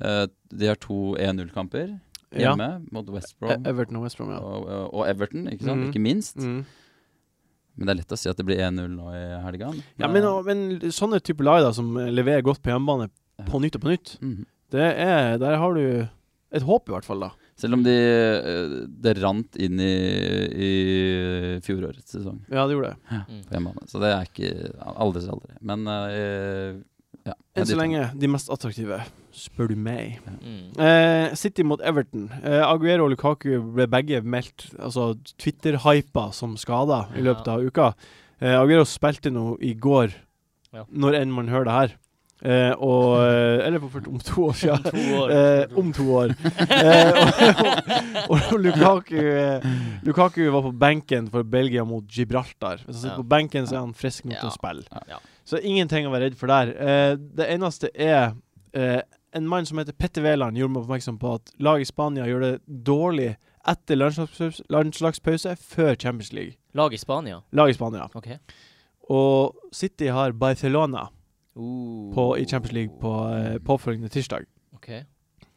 eh, De har to 1-0-kamper Ja. hjemme mot E- West Brom Everton og West Brom, ja. og, eh, og Everton, ikke sant? Mhm. Ikke minst. Mm. Men det er lett å si at det blir 1-0 nå i helga. ja men, og, men sånne typer lag da, som eh, leverer godt på hjemmebane på nytt og på nytt, Mhm. det er, der har du et håp, i hvert fall. da Selv om de, eh, det rant inn i, i fjorårets sesong Ja, det gjorde det. Mm. på hjemmebane. Så det er ikke Aldri si aldri. Men eh, ja. Enn De så to. lenge de mest attraktive, spør du meg. Mm. Eh, City mot Everton. Eh, Aguero og Lukaku ble begge meldt altså Twitter-hypa som skada i Ja. løpet av uka. Eh, Aguero spilte nå i går, Ja. når enn man hører det her. Eh, og eh, Eller for først om to år siden. To år. Eh, om to år. eh, og, og, og Lukaku eh, Lukaku var på benken for Belgia mot Gibraltar. Hvis han sitter Ja. på benken, så er han frisk nok til Ja. å spille. Ja. Så ingenting å være redd for der. Eh, det eneste er eh, en mann som heter Petter Wæland, gjorde meg oppmerksom på at laget i Spania gjør det dårlig etter landslagspause, landslagspause før Champions League. Lag i Spania. Lag i Spania. OK. Og City har Barcelona på, i Champions League på eh, påfølgende tirsdag. OK.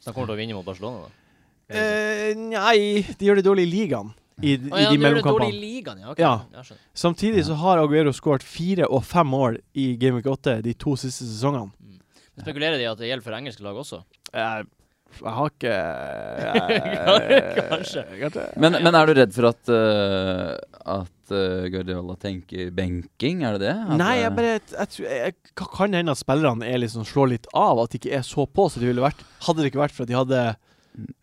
Så han kommer til å vinne mot Barcelona, da? Eh, nei, de gjør det dårlig i ligaen. I, Å i ja, de de gjør det dårlig i mellomkampene. ligaen, ja. ok. Ja. Jeg skjønner. Samtidig så har Aguero skåret fire og fem mål i Game Week 8 de to siste sesongene. Men Spekulerer de at det gjelder for engelske lag også? Jeg, jeg har ikke Kanskje. Men, men er du redd for at, eh, at eh, Guardiola tenker benking? Er det det? At, Nei, eh, jeg bare jeg, tror- jeg, jeg kan hende at spillerne er liksom slår litt av, at de ikke er så på som de ville vært. Hadde det ikke vært for at de hadde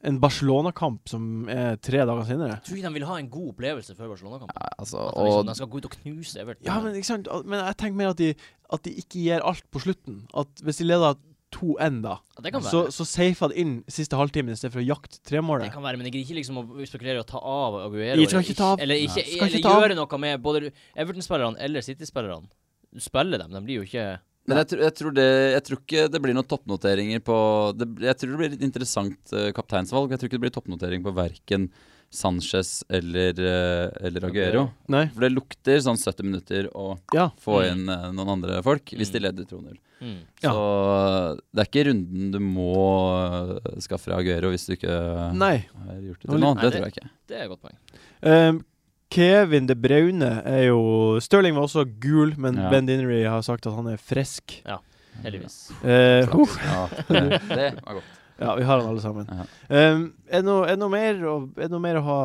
en Barcelona-kamp som er tre dager senere. Tror du de vil ha en god opplevelse før Barcelona-kampen? ja, altså, At de, liksom, og, de skal gå ut og knuse Everton? Ja, men ikke sant? Men jeg tenker mer at de, at de ikke gir alt på slutten. At hvis de leder 2-1, da Ja, det kan være. Så, så safe han inn siste halvtimen i stedet for å jakte Det tremålet. kan være, men jeg gidder ikke liksom å spekulere i å ta av Aguero. Jeg skal eller ikke ta av. Eller, ikke, Skal ikke eller ta av. gjøre noe med både Everton-spillerne eller City-spillerne. Du spiller dem, de blir jo ikke men jeg, tror- jeg, tror det, jeg tror ikke det blir noen toppnoteringer på det, Jeg tror det blir et interessant eh, kapteinsvalg. Jeg tror ikke det blir toppnotering på verken Sanchez eller, eh, eller Aguero. Nei. For det lukter sånn 70 minutter å Ja. få Mm. inn eh, noen andre folk hvis de leder 2-0. mm. Ja. Så eh, det er ikke runden du må eh, skaffe deg Aguero hvis du ikke eh, Nei. har gjort det Nå til nå. litt- Det Nei, tror jeg ikke. Det er et godt poeng. Ehm, Kevin De Braune er jo Stirling var også gul, men Ja. Ben Dinnery har sagt at han er frisk. Heldigvis. Eh, huh. Ja, det, det var godt. ja, vi har han alle sammen. Ja. Ehm, er det noe, er det noe, mer, å- er det noe mer å ha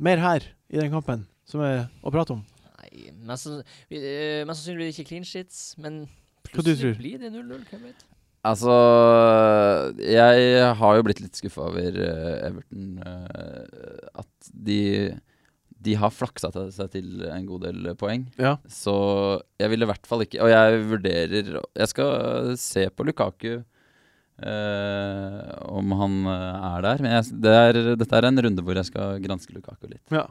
Mer her i den kampen som er å prate om? Nei, mest sann- vi- eh, mest sannsynlig blir det ikke clean sheets, men Hva du plutselig tror? blir det 0-0. Hvem vet? Altså, jeg har jo blitt litt skuffa over eh, Everton. eh, at de, de har flaksa til- seg til en god del poeng. Ja. Så jeg ville i hvert fall ikke Og jeg vurderer Jeg skal se på Lukaku eh, om han eh, er der. Men jeg, det er, dette er en runde hvor jeg skal granske Lukaku litt. Ja.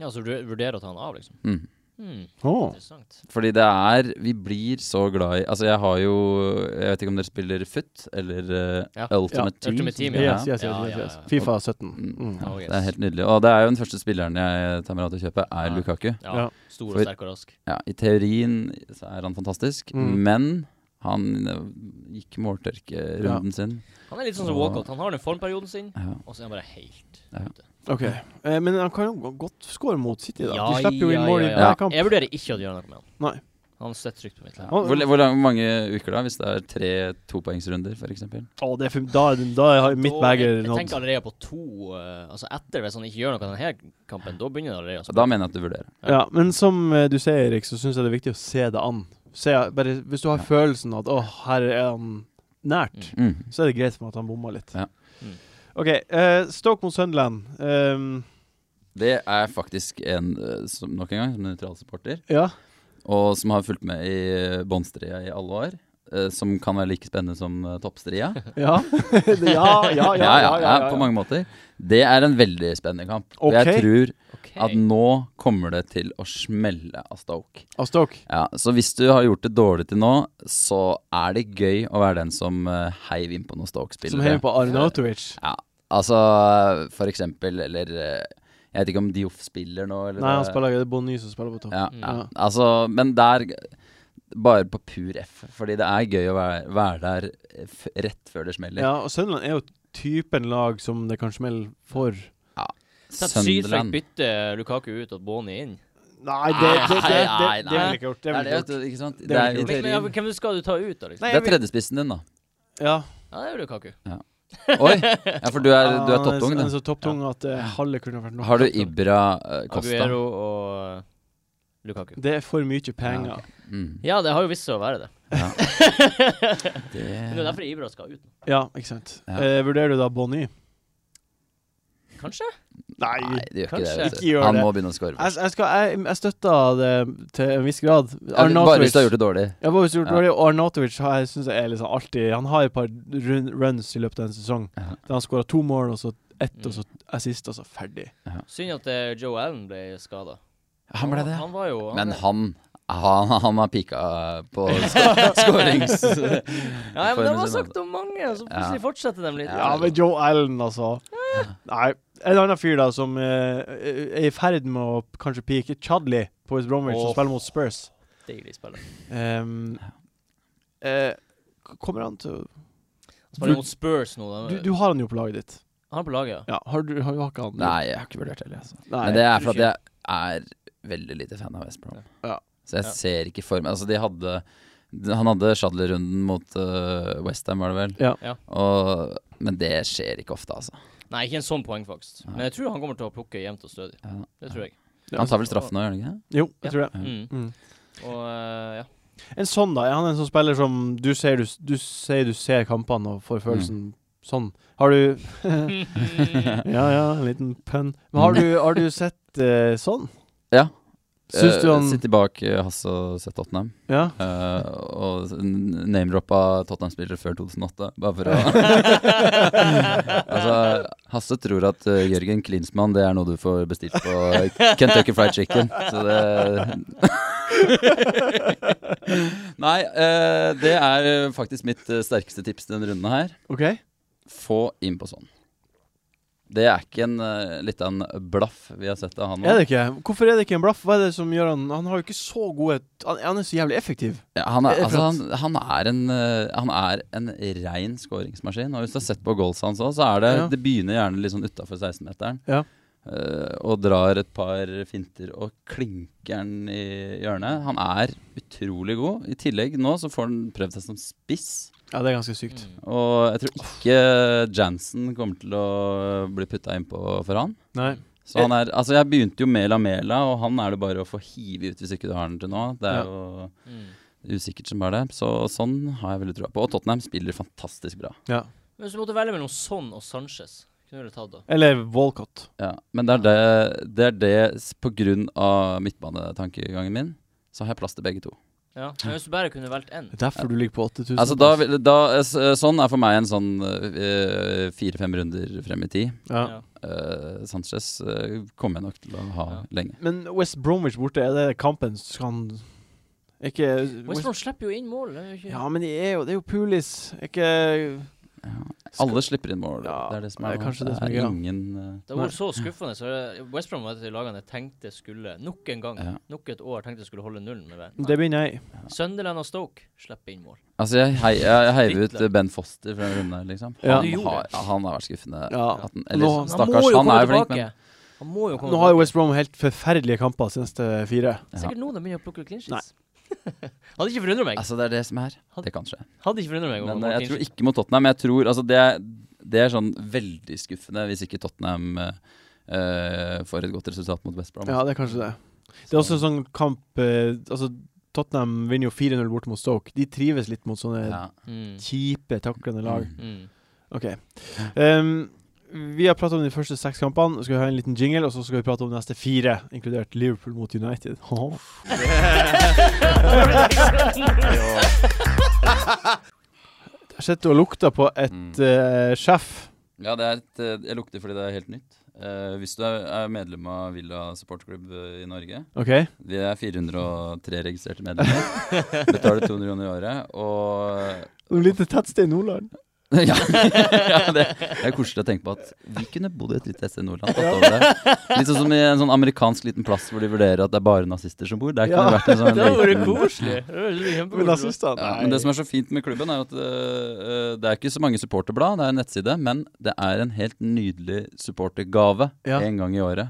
Ja, så du vurderer å ta han av, liksom? Mm. Hmm, Oh. interessant. Fordi det er Vi blir så glad i Altså, jeg har jo Jeg vet ikke om dere spiller foot eller eh, Ja. Ultimate Ja, Team. Ultimate Team, som det ja. Yes, yes, yes, Ja, yes, ja, yes. ja. Fifa 17. Mm. Mm. Oh, yes. Det er helt nydelig. Og det er jo den første spilleren jeg tar meg råd til å kjøpe, er Ja. Lukaku. Ja, Ja. Stor For- og sterk og rask. Ja, I teorien så er han fantastisk, Mm. men han eh, gikk måltørkerunden sin. Han er litt sånn som Og- Walcott. Han har den formperioden sin, Ja. og så er han bare helt Ja. ute. OK. Eh, men han kan jo go- godt score mot City, da. Ja, De slipper jo inn ja, mål i ja, hver ja. kamp. Jeg vurderer ikke å gjøre noe med han. Nei. Han sitter trygt på mitt lag. Han- Hvor, hvor lang- mange uker da, hvis det er tre topoengsrunder f.eks.? Å, det er for, da, er den- da har mitt Da- beger Jeg, jeg nådd. tenker allerede på to eh, Altså etter, hvis han ikke gjør noe denne her kampen, da begynner det allerede å Da mener jeg at du vurderer. Ja, men som eh, du sier, Erik, så syns jeg det er viktig å se det an. Se, bare, hvis du har Ja. følelsen at 'Å, her er han nært', Mm. Mm. så er det greit for meg at han bomma litt. Ja. Mm. OK. eh, Stoke mot Sunderland. Ehm, Det er faktisk en, eh, som, nok en gang, som nøytral supporter, ja. og som har fulgt med i båndstria i alle år. eh, Som kan være like spennende som eh, toppstria. Ja. Det- ja, ja, ja, ja, ja, ja, På mange måter. Det er en veldig spennende kamp. Og Ok. Jeg tror Ok. at nå kommer det til å smelle av Stoke. Av Stoke. Ja, så hvis du har gjort det dårlig til nå, så er det gøy å være den som eh, heiv innpå noen Stoke-spillere. Som heier på Arnautovic. Ja, altså for eksempel, eller eh, Jeg vet ikke om Dioff spiller nå, eller Nei, han spiller, det er Bonny som spiller på topp. ja, ja. Mm. Altså, men der Bare på pur F, fordi det er gøy å være, være der eh, f rett før det smeller. Ja, og Sunderland er jo typen lag som det kan smelle for. Sett Sydfrank bytte Lukaku ut og Boni inn. Nei, det- det- det- det- det ville jeg ikke gjort. Det er det, vet du, ikke sant? Det Det er er, vel i Men, men, ja, teorien. hvem skal du ta ut, da? liksom? Nei, Det er jeg vil- tredjespissen din, da. Ja. Ja, det er jo Lukaku. Oi! Ja, for du er, du er topptung, Den du. er så topptung at eh, halve kunne vært nok. Har du Ibra eh, Costa? Aguero og eh, Lukaku. Det er for mye penger. Ja, Mm. Ja, det har jo vist seg å være det. Ja. Men det er Det derfor Ibra skal ut. Ja, ikke sant. Ja. Eh, vurderer du da Bonny? Kanskje? Nei. Nei, det gjør ikke det. Kanskje. Vet du. Ikke gjør Han det. Altså, må begynne å score. Jeg, jeg, skal, jeg, jeg støtter det til en viss grad. Ja, Bare hvis du har gjort det dårlig. Ja, bare hvis du har gjort Ja. dårlig. Og Arnautovic har- jeg synes jeg er liksom alltid Han har et par run, runs i løpet av en sesong Ja. der han skåra to mål, og så ett, Mm. og så assist, og så ferdig. Synd at eh, Joe Allen ble skada. Han ble det. Han var jo han Men er- han han, han har pika eh, på sk- skårings... Ja, ja, men det formen var sin. sagt om mange, og så plutselig Ja. fortsetter de litt. Ja, men Joe Allen, altså. Nei. En annen fyr da som eh, er i ferd med å kanskje peake, Chadley på West Bromwich, som Åh. spiller mot Spurs. Deilig spiller. Ehm, eh, k- kommer han til å Han spiller mot eh, Spurs nå. du, Da. du har han jo på laget ditt. Han er på laget, ja. Ja, har du har, har ikke han Nei, jeg har ikke vurdert det heller. Altså. Nei. Men det er for at jeg jeg er veldig lite fan av West Brom. Ja. Så jeg Ja. ser ikke for meg Altså, de hadde han hadde Shadley-runden mot uh, Westham, var det vel? Ja. Ja. Og, men det skjer ikke ofte, altså. Nei, ikke en sånn poengfangst. Nei. Men jeg tror han kommer til å plukke jevnt og stødig. Ja. Det tror jeg. Han tar vel straffen nå, gjør han ikke det? Jo, jeg tror det. Mm. Mm. Og eh, ja. En sånn, da. Er han en sånn spiller som du sier du, du, sier du ser kampene og får følelsen Mm. sånn? Har du Ja, ja, en liten pønn. Men har du, har du sett eh, sånn? Mm. Ja. Syns du Eh, han Sitter bak eh, Hass og sett Tottenham. Ja. Eh, og s- n- name-droppa Tottenham-spillere før 2008, bare for å Altså, Hasse tror at eh, Jørgen Klinsmann det er noe du får bestilt på Kentucky Fried Chicken. Så det Nei, eh, det er eh, faktisk mitt eh, sterkeste tips denne runden her. OK? Få inn på sånn. Det er ikke en uh, litt av en blaff vi har sett av han nå. Er det ikke? Hvorfor er det ikke en blaff? Hva er det som gjør han Han har jo ikke så gode Han, han er så jævlig effektiv. Ja, han, er, Eh, altså, han, for han, er en, eh, han er en rein skåringsmaskin. Og hvis du har sett på goals hans òg, så er det Ja. Det begynner gjerne litt sånn utafor 16-meteren. Ja. eh, og drar et par finter og klinker den i hjørnet. Han er utrolig god. I tillegg nå så får han prøvd seg som spiss. Ja, det er ganske sykt. Mm. Og jeg tror ikke Jansen kommer til å bli putta innpå for han. Nei. Så Eh. han er, altså jeg begynte jo med Lamela, og han er det bare å få hive ut hvis ikke du har den til nå. Det Ja. er jo Mm. Usikkert som bare det. Så sånn har jeg veldig trua på. Og Tottenham spiller fantastisk bra. Ja. Men Hvis du måtte velge mellom Son og Sanchez, kunne du tatt da? Eller Walcott. Ja. Men det er det, det er det s- på grunn av midtbanetankegangen min, så har jeg plass til begge to. Ja. Men hvis du bare kunne valgt én Det er derfor du ligger på 8000. Altså, da, vil- da, s- sånn er for meg en sånn eh, fire-fem runder frem i tid. ja. Ja. Eh, Sanchez eh, kommer jeg nok til å ha Ja. lenge. Men West Bromwich borte, er det kampen som kan er Ikke West West Brom slipper jo inn mål. Det er jo ikke Ja, men de er jo, det er jo Pulis. Er ikke Ja. Skal- Alle slipper inn mål. Ja, det er det som er, det er kanskje det som er er greia. ingen eh, Det var så skuffende. Så det- West Brom var et av de lagene jeg tenkte skulle Nok en gang, Ja. nok et år tenkte jeg skulle holde nullen med det. Det begynner jeg. Sunderland og Stoke slipper inn mål. Altså, jeg, hei, jeg, jeg heiver ut Hitler. eh, Ben Foster fra denne runden her, liksom. Ja. Han, Du gjorde har, det. ja, han har vært skuffende. Ja. At han, eller, Nå- stakkars, han, er jo flink, men Han må jo komme Nå har jo tilbake. West Brom helt forferdelige kamper de siste fire. ja. Sikkert nå de begynner å plukke clean sheets. Hadde ikke forundret meg. Altså, det er det som er. Han- Det kan skje. Hadde ikke forundret meg om han Men var eh, clean jeg tror sheet. ikke mot Tottenham. Jeg tror, altså, det, er- det er sånn veldig skuffende hvis ikke Tottenham eh, eh, får et godt resultat mot West Brom. Ja, det er kanskje det. Det er også en sånn kamp eh, Altså, Tottenham vinner jo 4-0 bort mot Stoke. De trives litt mot sånne Ja. Mm. kjipe, taklende sånn lag. Mm. Mm. OK. Ehm, vi har prata om de første seks kampene. Nå skal vi ha en liten jingle, og så skal vi prate om de neste fire, inkludert Liverpool mot United. Jeg har sett du har lukta på et Mm. eh, sjef. Ja, det er et, eh, jeg lukter fordi det er helt nytt. Eh, hvis du er, er medlem av Villa supporterklubb i Norge OK? Vi er 403 registrerte medlemmer. Betaler 200 kroner i året. Og Et lite tettsted i Nordland. ja, ja, det, det er koselig å tenke på at vi kunne bodd i et lite sted i Nordland. tatt over det. Litt sånn som i en sånn amerikansk liten plass hvor de vurderer at det er bare nazister som bor. Der kunne Ja. det vært en sånn Det hadde vært liten- koselig. Det hadde vært Men kjempekoselig. nazistene Ja, men det som er så fint med klubben, er at øh, øh, det er ikke så mange supporterblad. Det er en nettside, men det er en helt nydelig supportergave Ja. en gang i året.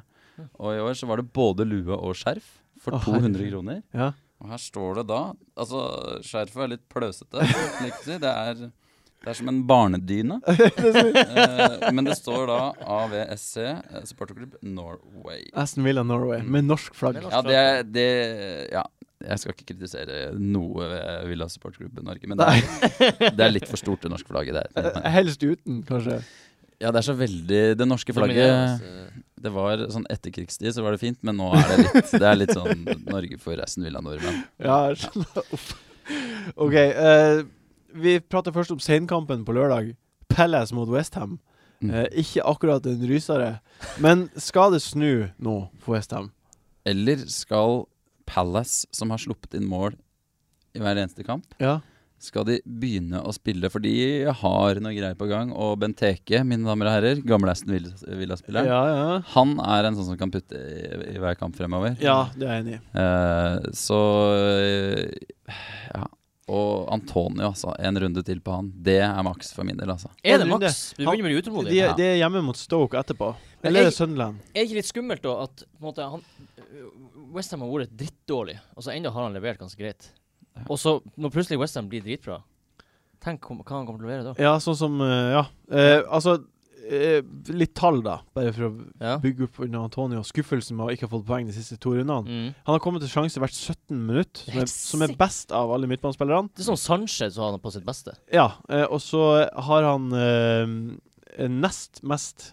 Og i år så var det både lue og skjerf for Å, 200 herregud. kroner. Ja. Og her står det da Altså, skjerfet er litt pløsete. kan jeg ikke si. Det er, det er som en barnedyne. Eh, men det står da AVSC, eh, supporterklubb Norway. Aston Villa Norway, med norsk flagg. Med norsk- Ja, det, er- det Ja. Jeg skal ikke kritisere noe ved Villa supporterklubb i Norge, men det er, det er litt for stort, det norske flagget. Det er, Eh, Helst uten, kanskje. ja, det er så veldig Det norske Dominerende, flagget altså. Det var sånn etterkrigstid, så var det fint, men nå er det litt Det er litt sånn Norge for resten Villa nordmenn. Ja, jeg skjønner. Uff. OK. eh, vi prater først om senkampen på lørdag. Palace mot Westham. Mm. Uh, ikke akkurat en rysere, men skal det snu nå for Westham? Eller skal Palace, som har sluppet inn mål i hver eneste kamp, Ja. skal de begynne å spille? For de har noe greier på gang. Og Benteke, mine damer og herrer, gamle Aston Villa- ja, Villa-spilleren, ja. han er en sånn som kan putte i, i hver kamp fremover. Ja, det er jeg enig i. Eh, så eh, ja. Og Antonio, altså. En runde til på han. Det er maks for min del, altså. Er det En runde. maks? Du begynner med De, utålmodighet. er- de er hjemme mot Stoke etterpå. Men Eller er jeg- det Sunderland? Er ikke litt skummelt da at på en måte, han Westham har vært drittdårlig, og så ennå har han levert ganske greit. Og så, når plutselig Westham blir dritbra, tenk om, hva han kommer til å levere da. Ja, sånn som eh, Ja. Eh, altså, eh, litt tall, da. Bare for å Ja. bygge opp under Antonio. Skuffelsen med å ikke ha fått poeng de siste to rundene. Mm. Han har kommet til sjanse hvert 17 minutt, som er, Helt som er sykt. best av alle midtbanespillerne. Det er sånn Sanchez har han på sitt beste. Ja, eh, og så har han eh, nest mest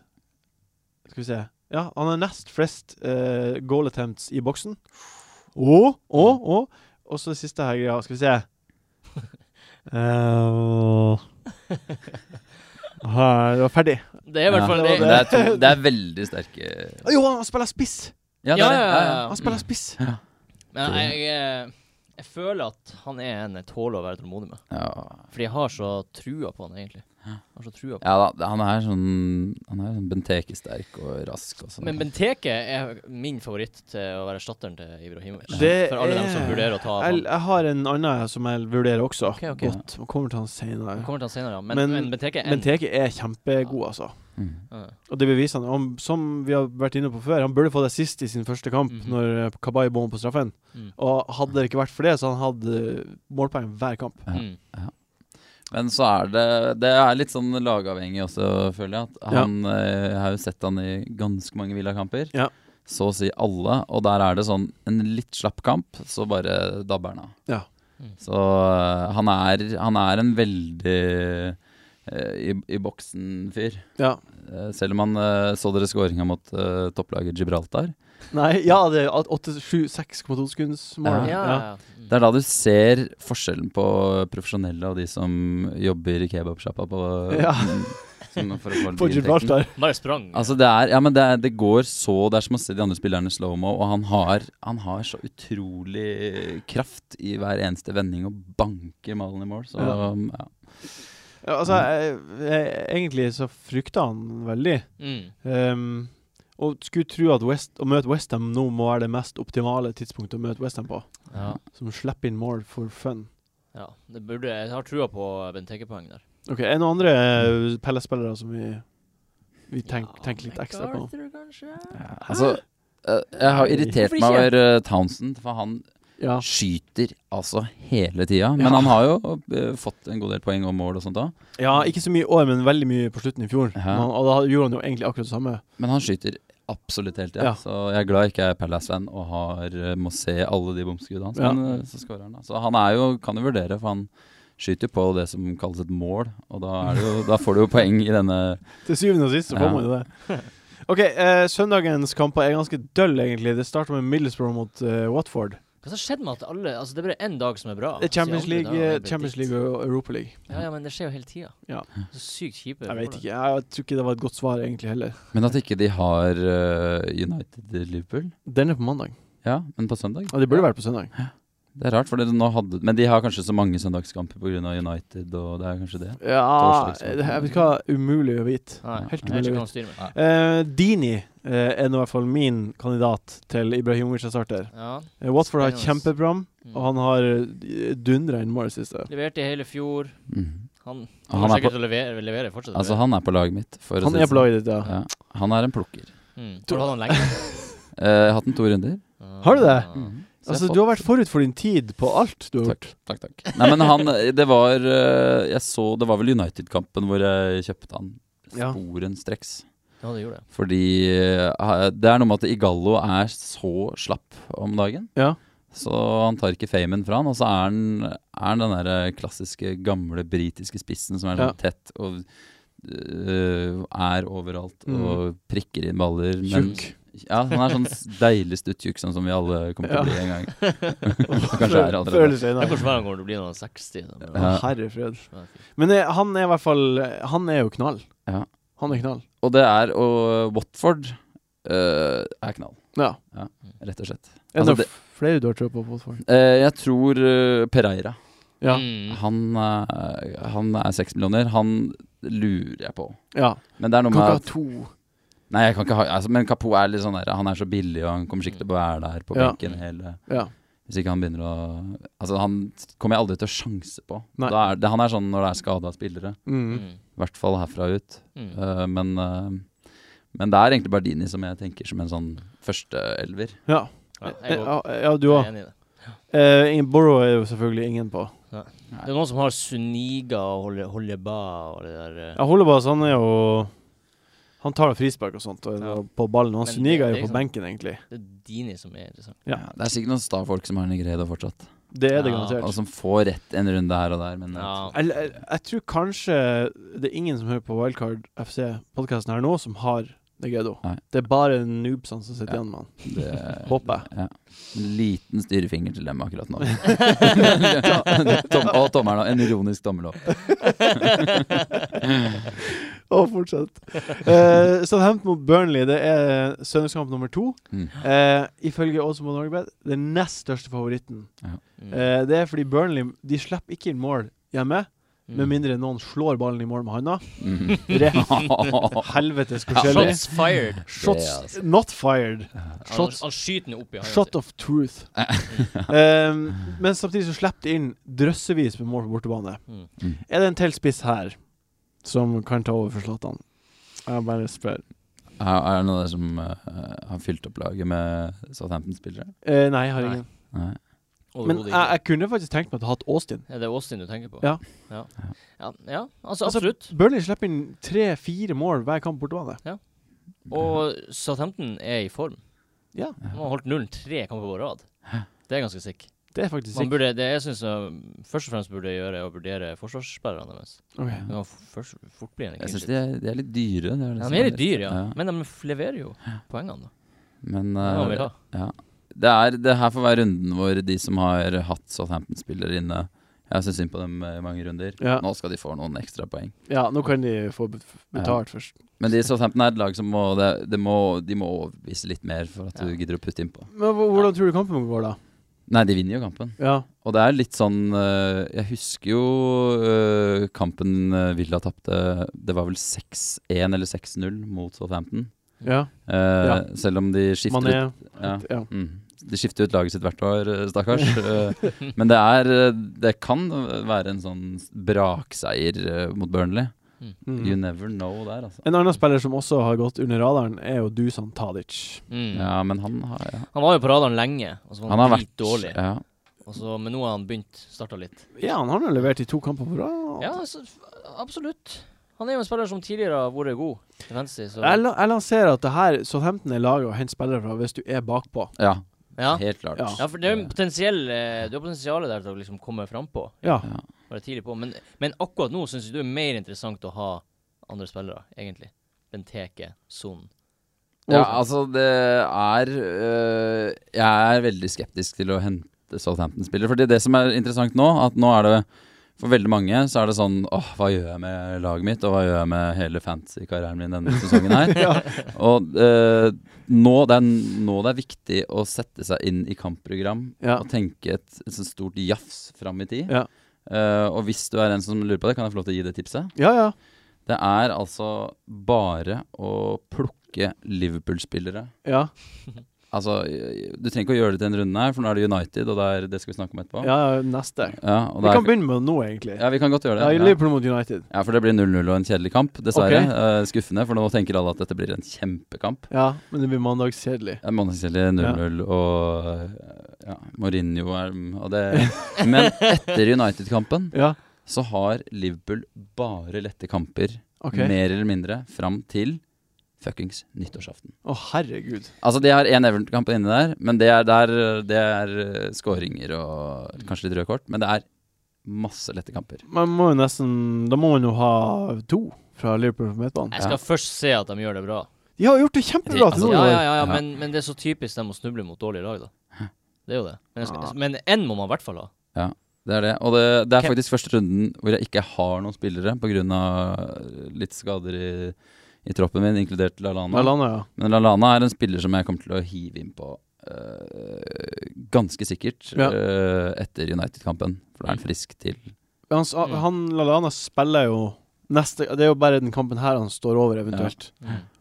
Skal vi se Ja, han har nest flest eh, goal attempts i boksen. Og, og, og Og så det siste her greia, skal vi se Eh, her, Det var ferdig. Det er i hvert fall ja. det. Men det, er to, det er veldig sterke Å, Jo, han spiller spiss! Ja, det er det. Ja, ja. Han spiller spiss. Men jeg, jeg, eh, jeg føler at han er en jeg tåler å være tålmodig med. ja. Fordi jeg har så trua på han, egentlig. Jeg har så trua på Ja da, han er sånn Han er sånn Benteke-sterk og rask og sånn. Men Benteke er min favoritt til å være erstatteren til Ibrahimovic. Det For alle dem som er- vurderer å ta av Jeg, han. jeg har en annen som jeg vurderer også. Ok, ok. Godt. Og kommer til han senere. Kommer til han senere, ja. men, Men- men, Benteke er Men en. Teke er kjempegod, altså. mm. Ja. Og det beviser han. han. Som vi har vært inne på før, han burde få det sist i sin første kamp, Mhm. når eh, Kabay bom på straffen. Mm. Og hadde det ikke vært for det, så han hadde eh, målpoeng hver kamp. Ja. Mm. Men så er det Det er litt sånn lagavhengig også, føler jeg. At han, eh, Jeg har jo sett han i ganske mange Villa-kamper. Ja. Så å si alle. Og der er det sånn en litt slapp kamp, så bare dabber han av. Ja. Mm. Så eh, han er, han er en veldig eh, i, i boksen-fyr. Ja. Eh, Selv om han eh, så dere skåringa mot eh, topplaget Gibraltar. Nei, ja, det er 8-7-6,2 sekunds Ja. mål. Ja, ja, Mm. ja. Det er da du ser forskjellen på profesjonelle og de som jobber i kebabsjappa på Ja. som for å få litt På inntekten. Gibraltar. Bare sprang. Altså det er, ja, men det, er, det går så Det er som å se de andre spillerne i slow-mo, og han har, han har så utrolig kraft i hver eneste vending og banker malen i mål. Så Ja. ja. Ja, Altså, jeg, jeg, egentlig så frykta han veldig. Mm. Ehm, og skulle tro at West, å møte Westham nå må være det mest optimale tidspunktet å møte Westham på. Ja. Som slipper inn mål for fun. ja. Det burde, jeg har trua på Benteke-poeng der. Ok, Er det noen andre eh, Pelle-spillere som vi, vi tenk, tenker litt ekstra på? MacArthur, kanskje? Ja, Altså, eh, jeg har irritert meg Hvorfor over eh, Townsend, for han Ja. skyter altså hele tida. Men Ja. han har jo eh, fått en god del poeng og mål og sånt òg. ja, ikke så mye i år, men veldig mye på slutten i fjor. Ja. Men han- og da gjorde han jo egentlig akkurat det samme. Men han skyter absolutt hele tida. Ja. Så jeg er glad jeg ikke er Palace-fan og har, eh, må se alle de bomskuddene hans. Ja. Men eh, så skårer han, da. Så han er jo, kan jo vurdere, for han skyter jo på det som kalles et mål. Og da, er det jo, da får du jo poeng i denne Til syvende og sist så får Ja. man jo det. Ok, eh, Søndagens kamper er ganske døll, egentlig. Det starter med Middlesbrough mot eh, Watford. Hva som skjedde med at alle Altså, det er bare én dag som er bra. Det er Champions Så de andre League, dagene er eh, bare Champions dritt. League og Europa League. Ja, ja, men det skjer jo hele tida. Ja. Så sykt kjipe. Jeg vet ikke. forhold. Jeg tror ikke det var et godt svar, egentlig, heller. Men at ikke de har eh, United Liverpool. Den er på mandag. Ja, men på søndag? Ja, det burde vært på søndag. Det er rart, for det- nå hadde, men de har kanskje så mange søndagskamper pga. United, og det er kanskje det. Ja, Torsdag, det, liksom. jeg vet hva, umulig å vite. Nei, Helt jeg vet umulig. ikke hva han styrer med. Eh, Dini eh, er nå i hvert fall min kandidat til Ibrahimovic som starter. Ja. Eh, Watford har Spennende. kjempeprogram, Mm. og han har eh, dundra inn mål i det siste. Leverte i hele fjor. Mm. Mhm. Han Og kommer han er sikkert til å levere, levere fortsatt. å Altså, levere. han er på laget mitt. For å si Han det er på sånn. laget ditt, ja. Ja, han er en plukker. mm. Har du hatt han lenge? Eh, jeg har hatt den to runder. Har du det? Ja. Så jeg Altså, fått- du har vært forut for din tid på alt du har gjort. Takk, takk, takk. Nei, men han Det var eh, Jeg så Det var vel United-kampen hvor jeg kjøpte han Ja. sporenstreks. Ja, det gjorde jeg. Fordi eh, det er noe med at Igallo er så slapp om dagen. Ja. Så han tar ikke famen fra han. Og så er han, er han den der eh, klassiske gamle britiske spissen som er Ja. sånn tett og øh, er overalt og prikker inn baller. men- Mm. Tjukk. Ja, han er sånn s- deilig stuttjukk, sånn som vi alle kommer til å Ja. bli en gang. Kanskje er allerede Føler seg Det er innom. Hvordan var han kommer til å bli når han er 60? da, men- Ja. Herre fred. Ja. Men eh, han er i hvert fall eh, Han er jo knall. Ja. Han er knall. Og det er Og Watford øh, er knall, Ja. rett og slett. Er det Altså, noe det- f- flere du har tro på? på Watford? Eh, jeg tror øh, Pereira. Ja. Mm. Han, eh, han er seks millioner. Han lurer jeg på. ja. Men det er noe Kan ikke med ha at to. Nei, jeg kan ikke ha altså, Men Kapo er litt sånn der Han er så billig, og han kommer sikkert til å være der på Ja. benken hele Ja. Hvis ikke han begynner å Altså, han kommer jeg aldri til å sjanse på. Nei. Da er, det, han er sånn når det er skada spillere. Mm. Mm. I hvert fall herfra ut. Mm. Eh, men eh, men det er egentlig Bardini som jeg tenker som en sånn førsteelver. ja. Ja, Eh, jeg går. ja, ja, du Jeg òg. er enig i Uh, det. Borrow er jo selvfølgelig ingen på. Det er noen som har Suniga og Holje- Holjeba og det der eh. Ja, Hollebas, han er jo Han tar da frispark og sånt og er Ja. da på ballen. Og Men Suniga det- er det jo er på ikke benken, egentlig. Det er Dini som er interessant. Ja. det er sikkert noen sta folk som har Negredo fortsatt. Det er det Ja, altså. Og garantert. som får rett en runde her og der, men eh, Ja. Jeg, jeg, jeg tror kanskje det er ingen som hører på Wildcard FC-podkasten her nå, som har Negredo. Nei. Det er bare noobsene som sitter Ja. igjen med han. det Håper jeg. Ja. En liten styrefinger til dem akkurat nå. Tom, og tommelen òg. En ironisk tommel opp. Og fortsett. Uh, Southampton mot Burnley Det er søndagskamp nummer to. Mm. Eh, ifølge Odds på Norgebet den nest største favoritten. Mm. Eh, det er fordi Burnley De slipper ikke inn mål hjemme, Mm. med mindre noen slår ballen i mål med handa. Mm. Helvetes Ja, forskjellig. Shots fired. Shots Det, not fired. Han, Shots han skyter den opp i Shot of truth. um, men samtidig så slipper de inn drøssevis med mål på bortebane. Mm. Mm. Er det en til spiss her som kan ta over for Zlatan? Jeg bare spør. Er er det noen der som eh, har fylt opp laget med Southampton-spillere? Eh, nei, jeg har Nei. ingen. Nei. Men jeg, jeg kunne faktisk tenkt meg å ha hatt Austin. Er det Austin du tenker på? Ja. Ja, ja, ja altså, Altså, absolutt. Burnley slipper inn tre-fire mål hver kamp bortebane. Og Southampton er i form. Ja. Han har holdt nullen tre kamper på rad. Det er ganske sick. Det er faktisk Man sikkert. burde, det jeg synes uh, først og fremst burde jeg gjøre, er å vurdere forsvarsspillerne deres. Ok. Det kan f- først fort bli en Jeg clinch. syns de, er- de er litt dyre. Det er Ja, liksom- de er litt dyre, ja. Ja. Men de leverer jo poengene, da. Men Det må eh, vi ha. det, er, det her får være runden hvor de som har hatt Southampton-spillere inne Jeg syns synd på dem eh, i mange runder. Ja. Nå skal de få noen ekstra poeng. ja, nå kan de få bet- betalt først. Men de i Southampton er et lag som må, det, det må, de må overbevise litt mer for at du Ja. gidder å putte innpå. Men hva- hvordan tror du kampen går, da? Nei, de vinner jo kampen. Ja. Og det er litt sånn eh, Jeg husker jo eh, kampen eh, Villa tapte Det var vel 6-1 eller 6-0 mot Southampton. ja. Eh, Ja. Selv om de skifter Mané. ut ja. Ja. Mm. De skifter ut laget sitt hvert år, eh, stakkars. Eh, Men det er eh, Det kan være en sånn brakseier eh, mot Burnley. You Mm. never know der, altså. En annen spiller som også har gått under radaren, er jo Dusan Tadic. Mm. Ja, men han har ja. Han var jo på radaren lenge, og så var Han han, har vært litt dårlig. Ja. Og så, men nå har han begynt, starta litt. Ja, han har nå levert i to kamper på rad. Ja, altså, f- absolutt. Han er jo en spiller som tidligere har vært god til venstre, så Jeg, la- jeg lanserer at det her Southampton er laget å hente spillere fra hvis du er bakpå. ja, ja. helt klart. Ja. ja, for det er jo en potensiell eh, Du har potensial der til å liksom komme frampå. Ja. Ja. Være tidlig på. Men, men akkurat nå syns jeg du er mer interessant å ha andre spillere, egentlig. Benteke, Son. Ja, altså det er øh, Jeg er veldig skeptisk til å hente Southampton-spillere. Fordi det som er interessant nå, at nå er det for veldig mange så er det sånn åh, hva gjør jeg med laget mitt, og hva gjør jeg med hele fantasy-karrieren min denne sesongen her? Og øh, nå, det er, nå det er viktig å sette seg inn i kampprogram Ja. og tenke et, et sånt stort jafs fram i tid. Ja. Eh, og hvis du er en som lurer på det, kan jeg få lov til å gi det tipset? Ja, ja. Det er altså bare å plukke Liverpool-spillere. Ja, Altså, Du trenger ikke å gjøre det til en runde her, for nå er det United, og det, er, det skal vi snakke om etterpå. ja neste. Ja, og Vi det kan er, begynne med det nå, egentlig. ja, vi kan godt gjøre Ja, det. Ja, Liverpool mot United. ja For det blir 0-0 og en kjedelig kamp, dessverre. Ok. Eh, skuffende, for nå tenker alle at dette blir en kjempekamp. Ja, men det blir mandagskjedelig. Det er Månedskjedelig 0-0 og eh, ja, Mourinho er og det. Men etter United-kampen Ja, så har Liverpool bare lette kamper, OK. Å, mer eller mindre, fram til fuckings nyttårsaften. herregud. Altså De har én Everton-kamp inni der, men det er, der, det er eh, skåringer og kanskje litt røde kort. Men det er masse lette kamper. Man må jo nesten Da må man jo ha to fra Liverpool på midtbanen. Jeg skal Ja. først se at de gjør det bra. De har gjort det kjempebra til Altså, nå. i ja, år. ja, ja, Ja. ja. Men, men det er så typisk dem å snuble mot dårlige lag, da. Det er jo det. Men, jeg skal, Ja. men én må man i hvert fall ha. Det er det. Og det, det er Hvem- faktisk første runden hvor jeg ikke har noen spillere pga. litt skader i, i troppen min, inkludert Lalana. Lallana, ja. Men Lalana er en spiller som jeg kommer til å hive inn på eh, ganske sikkert Ja. eh, etter United-kampen. For da er han frisk til Han, s- Mm. han Lallana spiller jo neste Det er jo bare den kampen her han står over, eventuelt.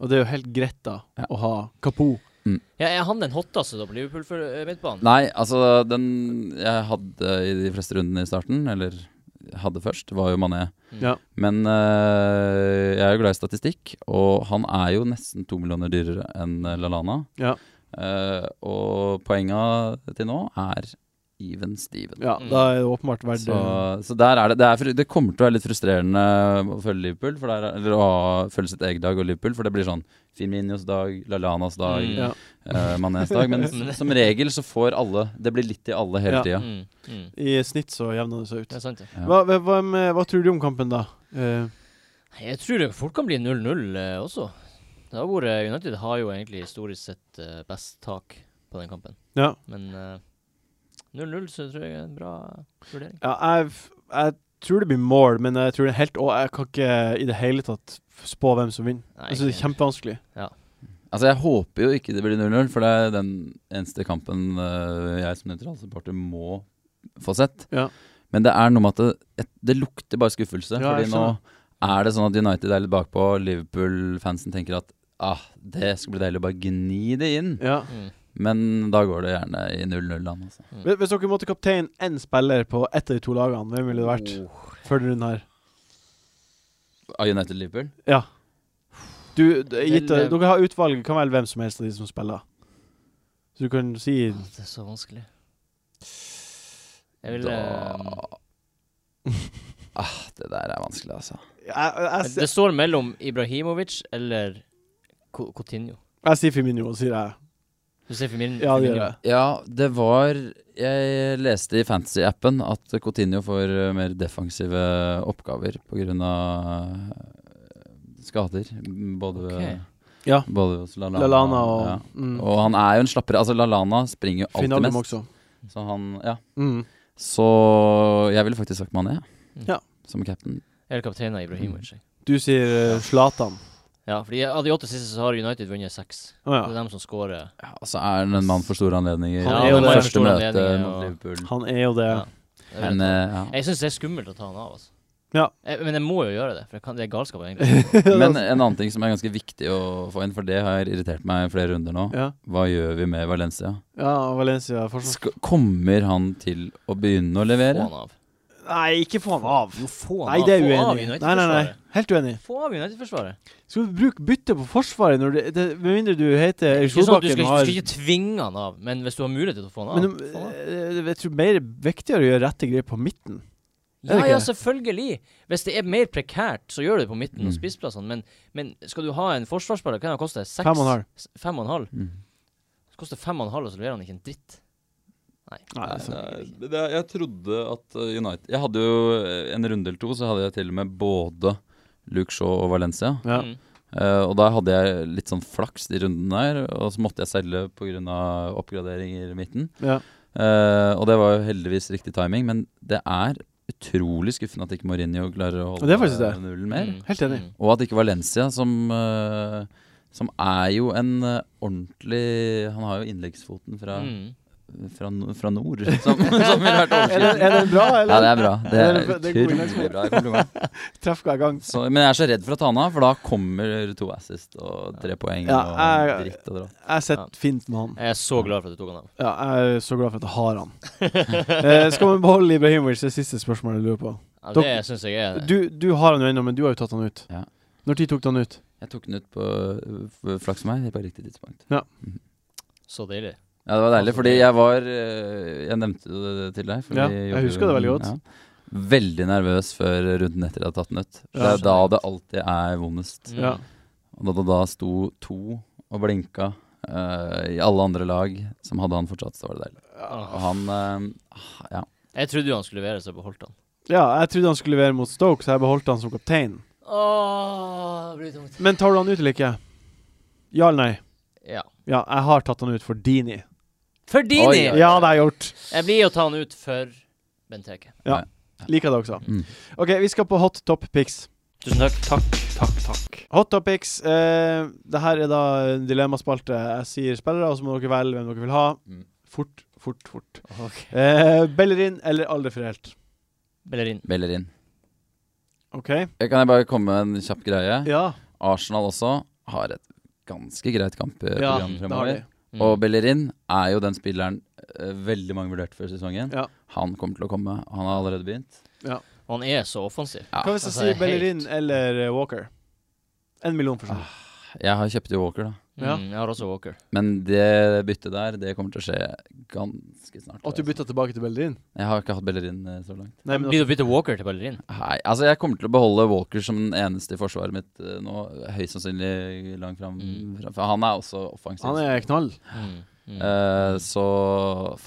Og det er jo helt greit, da, Ja. å ha Kapo. Ja, er han den hotteste da på Liverpool for eh, midtbanen? Nei, altså den jeg hadde i de fleste rundene i starten, eller hadde først, var jo Mané. Mm. Ja. Men øh, jeg er jo glad i statistikk, og han er jo nesten to millioner dyrere enn Lalana. Ja. Eh, og poenga til nå er even steven. Ja, Mm. da er det åpenbart verdt Så, det. så der er det det, er, fru- det kommer til å være litt frustrerende å følge Liverpool, for der, er- eller å ha- følge sitt eget lag og Liverpool, for det blir sånn Firminios dag, Lalanas dag, Mm. Ja. eh, Manés dag. Men s- som regel så får alle Det blir litt til alle hele Ja. tida. Mm. Mm. I snitt så jevner det seg ut. Det er sant, det. Ja. Hva, hva, hva, med- hva tror du om kampen, da? Eh, Jeg tror det fort kan bli 0-0 eh, også. Det har vært United har jo egentlig historisk sett eh, best tak på den kampen. ja. Men eh, 0-0 så tror jeg er en bra vurdering. ja jeg, f- jeg tror det blir mål, men jeg tror det er helt Og jeg kan ikke i det hele tatt spå hvem som vinner. Nei, Jeg synes det er kjempevanskelig. Altså Jeg håper jo ikke det blir 0-0, for det er den eneste kampen øh, jeg som nøytral supporter må få sett. Ja. Men det er noe med at det, et- det lukter bare skuffelse. Ja, jeg fordi nå er det sånn at United er litt bakpå. Liverpool-fansen tenker at ah, det skal bli deilig å bare gni det inn. Ja. Mm. Men da går det gjerne i 0-0-land. Altså. Hvis hvis dere måtte kapteine én spiller på ett av de to lagene, hvem ville det vært? Oh. Før runden her. Av United-Liverpool? Ja. Du, d- gitt, Vel, eh, dere har utvalg, kan velge hvem som helst av de som spiller. Så du kan si Åh, Det er så vanskelig. Jeg ville Da- eh, Ah, det der er vanskelig, altså. Jeg, jeg, jeg, Det står mellom Ibrahimovic eller Ko- Coutinho. jeg sier Firmino, sier jeg. Du ser Firmino. Ja, det gjør Firmino. jeg. Ja, det var Jeg leste i Fantasy-appen at Coutinho får eh, mer defensive oppgaver pga. eh, skader. m, Både, Ok. Ja. både hos Lalana, Lallana og ja. mm, Og han er jo en slappere. Altså, Lalana springer jo alltid Finaldum mest. også. Så han Ja. Mm. Så jeg ville faktisk sagt Mané. Ja. Som cap'n. Eller kapteinen av Ibrahimovic. jeg. Du sier eh, Zlatan. Ja, fordi av de åtte siste så har United vunnet seks. Å Det ja. er dem som scorer. Ja, altså er han en mann for store anledninger. Han er jo det. Første Store møte anledninger, mot og- Liverpool. Han er jo det. Ja. Jeg vet Men det. eh, ja. Jeg syns det er skummelt å ta han av. Altså. Ja. Jeg, men jeg må jo gjøre det, for jeg kan, det er galskap. egentlig Men altså. en annen ting som er ganske viktig å få inn, for det har irritert meg i flere runder nå. Ja, Hva gjør vi med Valencia? ja Valencia forsvars... Sk kommer han til å begynne Få å levere? han av. Nei, ikke få han av. Jo, få han Nei, av. det er Få av uenig. i. Nei, nei, nei. United-forsvaret. Helt uenig. Få av United-forsvaret. Skal du bruke bytte på Forsvaret når det, det, Med mindre du heter Erik Ikke sånn at du Solbakken skal, og har du skal ikke tvinge han av, men hvis du har mulighet til å få han av. Men få du- han av. eh, jeg tror mer viktigere å gjøre rette grep på midten. er det Ja, ikke ja, det? selvfølgelig. Hvis det er mer prekært, så gjør du det på midten Mm. og spissplassene. Men, men skal du ha en forsvarsspiller, hva kan han koste? Seks? Fem og en halv. S- Fem og en halv? Mm. Så koster fem og en halv, og så leverer han ikke en dritt. Nei. Nei, det er sant. Nei, det- det- jeg trodde at uh, United Jeg hadde jo eh, en runde eller to, så hadde jeg til og med både Luke Shaw og Valencia. Ja. Mm. Eh, og da hadde jeg litt sånn flaks de rundene der, og så måtte jeg selge pga. oppgraderinger i midten. Ja. Eh, og det var jo heldigvis riktig timing, men det er utrolig skuffende at ikke Mourinho klarer å Og det holde er faktisk det. nullen mer. Mm. Helt enig. Mm. Og at ikke Valencia, som, eh, som er jo en eh, ordentlig Han har jo innleggsfoten fra, Mm. fra, no- fra nord, som, som ville vært Er den, er overskriften. den bra, Ja, det eller? er bra. Det Ja, er det er- det er god utrolig bra kompliment. Treff hver gang. Så, men jeg er så redd for å ta han av, for da kommer to assist og tre poeng Ja, og jeg- dritt og dratt. Jeg sitter fint med han. Jeg er så glad for at du tok han av. Ja, jeg er så glad for at jeg har han. Eh, skal vi beholde Ibrahimovic? Det er siste spørsmålet jeg lurer på. Ja, Dok- det syns jeg er Du, du har han jo ennå, men du har jo tatt han ut. Ja. Når tid tok du han ut? Jeg tok den ut på øh, flaks for meg, helt på riktig tidspunkt. så deilig. Ja, det var deilig, fordi jeg var øh, Jeg nevnte jo det til deg. for Altså, Ja, vi jeg jobber jo- husker det veldig godt. ja. Veldig nervøs før runden etter jeg hadde tatt den ut. Ja. For Det er da det alltid er vondest. Mm. Ja. Og da det da sto to og blinka øh, i alle andre lag som hadde han fortsatt, så var det deilig. Ah. Og han øh, Ja. Jeg trodde jo han skulle levere, så jeg beholdt han. Ja, jeg trodde han skulle levere mot Stoke, så jeg beholdt han som kaptein. Åh, det blir tungt. Men tar du han ut eller ikke? Ja eller nei? Ja. Ja, jeg har tatt han ut for Dini. For Dini! Oi, Ja, det har jeg gjort. Jeg blir å ta han ut for Benteke. Liker det også. Mm. OK, vi skal på hot top pics. Tusen takk. Takk, takk, takk. Hot topics. Eh, det her er da en dilemmaspalte. Jeg sier spillere, og så må dere velge hvem dere vil ha. Mm. Fort, fort, fort. Ok. Eh, Bellerin eller aldri forelt. Bellerin. Bellerin. OK? Eh, Kan jeg bare komme med en kjapp greie? Ja, Arsenal også har et ganske greit ja kampprogram det har fremover. de. Mm. Og Bellerin er jo den spilleren eh, veldig mange vurderte før sesongen. Ja. Han kommer til å komme. Han har allerede begynt. han er så offensiv. Ja. Hva hvis jeg altså, sier det er Bellerin helt- eller eh, Walker? En million, for sånn. Jeg har kjøpt i Walker, da. Mm, Ja. Jeg har også Walker. Men det byttet der, det kommer til å skje ganske At snart. du altså. bytter tilbake til Bellerin? Jeg har ikke hatt Bellerin eh, så langt. Nei, men Blir det å bytte Walker til Bellerin? Nei, altså jeg kommer til å beholde Walker som den eneste i forsvaret mitt eh, nå. Høyst sannsynlig langt fram. Mm. fram- For han er også offensiv. han er knall. Mm. Mm. Eh, så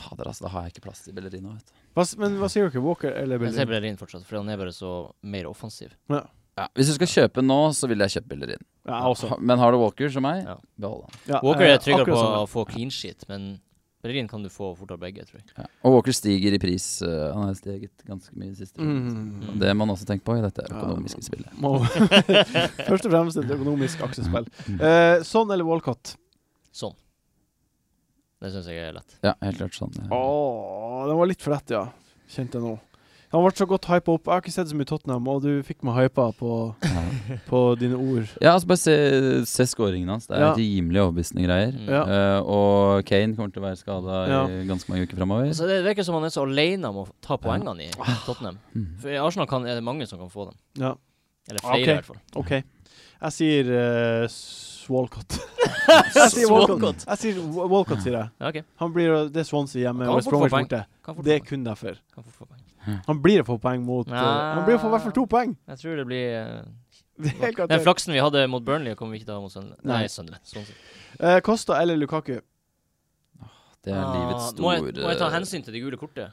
Fader, altså. Da har jeg ikke plass til Bellerin nå, vet du. Hva, s- men hva sier dere? Walker eller jeg ser Bellerin? Bellerin fortsatt, for han er bare så mer offensiv. Ja, hvis du skal kjøpe nå, så vil jeg kjøpe Bellerin. Ja, jeg også. Ha- Men har du Walker som meg, Ja. behold han. Ja, Walker eh, er tryggere akkurat på samme. å få clean sheet, men Bellerin kan du få fortere begge, tror jeg. Ja. Og Walker stiger i pris. øh, han har steget ganske mye siste runde. Mm. Det må man også tenke på i dette Ja. økonomiske spillet. Må- Først og fremst et økonomisk aksjespill. Eh, sånn eller Walcott? Sånn. Det syns jeg er lett. Ja, helt klart sånn. ja. Åh, den var litt for lett, ja. Kjente jeg nå. Han ble så godt hypa opp. Jeg har ikke sett så mye Tottenham, og du fikk meg hypa på, Ja. på dine ord. Ja, altså bare se, se scoringen hans. Det er Ja. rimelig overbevisende greier. Mm. Ja. Eh, og Kane kommer til å være skada Ja. i ganske mange uker framover. Altså, det virker som han er så alene om å ta poengene i Ah. Tottenham. Mm, For I Arsenal kan, er det mange som kan få dem. Ja, Eller flere, Ok. i hvert fall. OK. Jeg sier eh, S- Walcott. jeg sier Walcott. Walcott. Jeg sier Wa- Walcott, sier jeg. Ja, ok. Han blir, det er Swansea hjemme, Kan og han West fort få Bromwich borte. Kan fort Det er få poeng. kun derfor. Kan fort få poeng. Han blir å få poeng mot eh, Ah. Han blir å få i hvert fall to poeng. Jeg tror det blir eh, Det er Den garantert. flaksen vi hadde mot Burnley, kommer vi ikke til å ha mot Sunderland. Nei. Nei, Sunderland. Sånn sett. Eh, Costa eller Lukaku? Det er livets Ah, må, jeg, store må jeg ta hensyn til det gule kortet?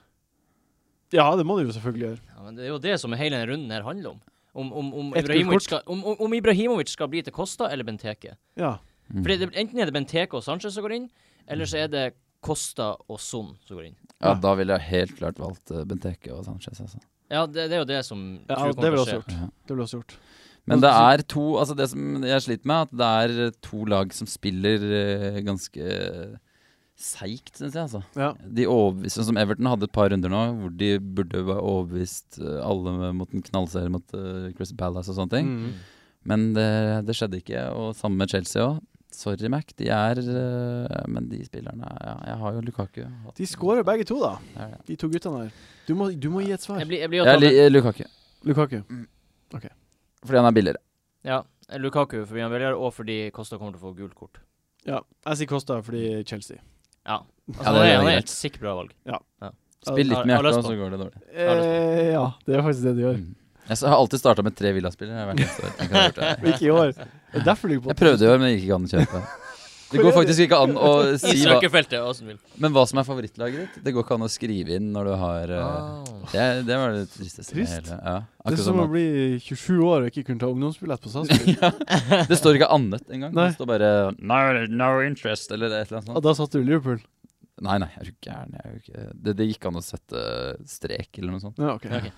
Ja, det må du jo selvfølgelig gjøre. Ja, men Det er jo det som hele denne runden her handler om. Om, om, om, Et gult Ibrahimovic kort. skal, om, om, om Ibrahimovic skal bli til Costa eller Benteke. Ja. Mm. Fordi det, Enten er det Benteke og Sanchez som går inn, eller så er det Costa og Son som går inn. Ja, da ville jeg helt klart valgt eh, Benteke og Sanchez. Altså. Ja, det, det er jo det som ja tror jeg det ville kommer også til å skje. gjort. Ja. Det ville også gjort. Men det er to Altså det som jeg sliter med, er at det er to lag som spiller eh, ganske seigt, syns jeg, altså. Ja. De overbeviste, sånn som Everton hadde et par runder nå hvor de burde være overbevist eh, alle mot en knallserie mot eh, Crystal Palace og sånne ting. Mm. Men det, det skjedde ikke. Og samme med Chelsea òg. Sorry, Mac. De er eh, Men de spillerne ja, Jeg har jo Lukaku. De skårer begge to, da. Det er det. De to guttene her. Du må, du må gi et svar. Jeg blir, jeg blir å ta Jeg liker Lukaku Lukaku. fordi han er billigere. Ja, Lukaku fordi han velger, og fordi Costa kommer til å få gult kort. Ja. Jeg sier Costa fordi Chelsea. Ja. Altså, Ja, det han, er er, han greit. er et sikkert bra valg. Spill litt med Har- har hjertet, lyst og på. så går det dårlig. Eh, ja, det er faktisk det de gjør. Mm. Jeg s- har alltid starta med tre Villa-spillere. hvert eneste år. Jeg kan ha gjort det. Ikke i år. Det er derfor du ligger på Jeg prøvde i år, men det gikk ikke an å kjøpe. Det går faktisk ikke an å I si hva, søkefeltet, Åsen vil. Men hva som er favorittlaget ditt, det går ikke an å skrive inn når du har eh, Ah. det, det var det tristeste med Trist. hele. Det Ja, er akkurat som som å bli 27 år og ikke kunne ta ungdomsbillett på Statsbygg. at- det står ikke annet engang. Nei. Det står bare no, no interest, eller et eller annet Og sånt. da satt du i Liverpool. Nei, nei, jeg er jo gæren. Jeg er jo ikke det, det gikk an å sette strek eller noe sånt. Ja, ok. Ok.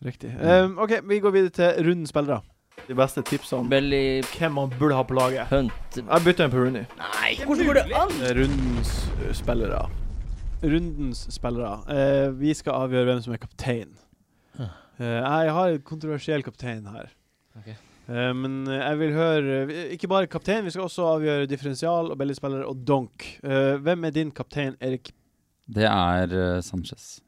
Riktig. Um, OK, vi går videre til rundens spillere. De beste tipsene Belly hvem man burde ha på laget. Hunt Jeg bytter en på Rooney. Nei, hvordan går det an? Rundens eh, spillere. Rundens spillere. Eh, vi skal avgjøre hvem som er kaptein. Huh. Eh, jeg har en kontroversiell kaptein her. Ok. Eh, men eh, jeg vil høre eh, Ikke bare kaptein, vi skal også avgjøre differensial og billigspillere og donk. Eh, hvem er din kaptein, Erik? Det er eh, Sanchez.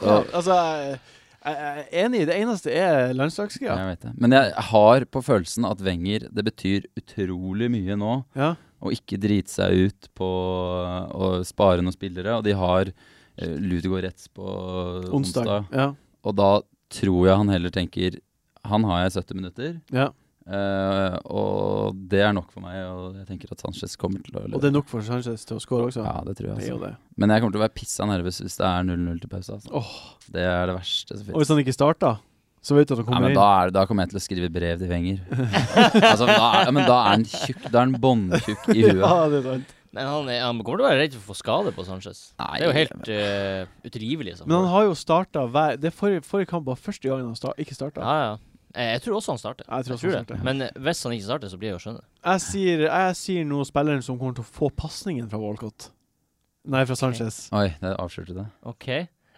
Ja, altså, jeg, jeg er enig. Det eneste er landslagsgreia. Jeg vet det. Men jeg har på følelsen at Wenger, det betyr utrolig mye nå. Ja. og ikke drite seg ut på eh, å spare noen spillere. Og de har uh, Lutegård Retz på onsdag. Onsdag. Ja. Og da tror jeg han heller tenker han har jeg 70 minutter, ja. eh, og det er nok for meg. Og jeg tenker at Sanchez kommer til å Og det er nok for Sanchez til å score også. Ja, det tror jeg. Det er jo Altså. det. Men jeg kommer til å være pissa nervøs hvis det er 0-0 til pause. Altså. Åh. sånn Det er det verste som Og finnes. hvis han ikke starter, så vet du at han Ja, kommer men da, er, det- da kommer jeg til å skrive brev til Wenger. altså, da, er- ja, men da er han tjukk. Da er han båndtjukk i inn. huet. ja, det er sant. Men han, er, han kommer til å være redd for å få skade på Sanchez. Det Nei, er jo helt eh, utrivelig. Liksom. Men han har jo starta hver Det er forrige, forrige kamp var første gangen han sta- ikke starta. ja, ja. Eh, Jeg tror også han starter. Jeg tror også han det. starter. Men eh, hvis han ikke starter, så blir jeg jo skjønne. Jeg, sier- jeg sier nå spilleren som kommer til å få pasningen fra Walcott. Nei, fra Sanchez. Oi, der avslørte du det. OK.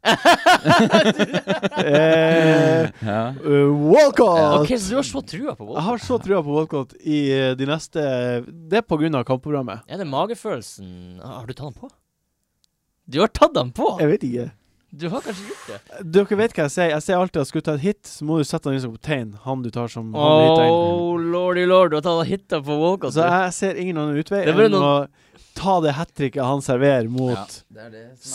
eh, Ja. uh, Walcott! OK, så du har så trua på Jeg Wolf? har så trua på Walcott i eh, de neste Det er på grunn av kampprogrammet. Er det magefølelsen Ah, Har du tatt han på? Du har tatt han på! Jeg vet ikke. Du har kanskje gjort det? Dere vet hva jeg sier. Jeg sier alltid at skulle du ta et hit, så må du sette han inn som kaptein. Han du tar som han du hitter inn. Oh, lordy lord, du har tatt hitta på Walcott. Så jeg ser ingen annen utvei Det er enn bare å ta det hat tricket han serverer mot det er det som er med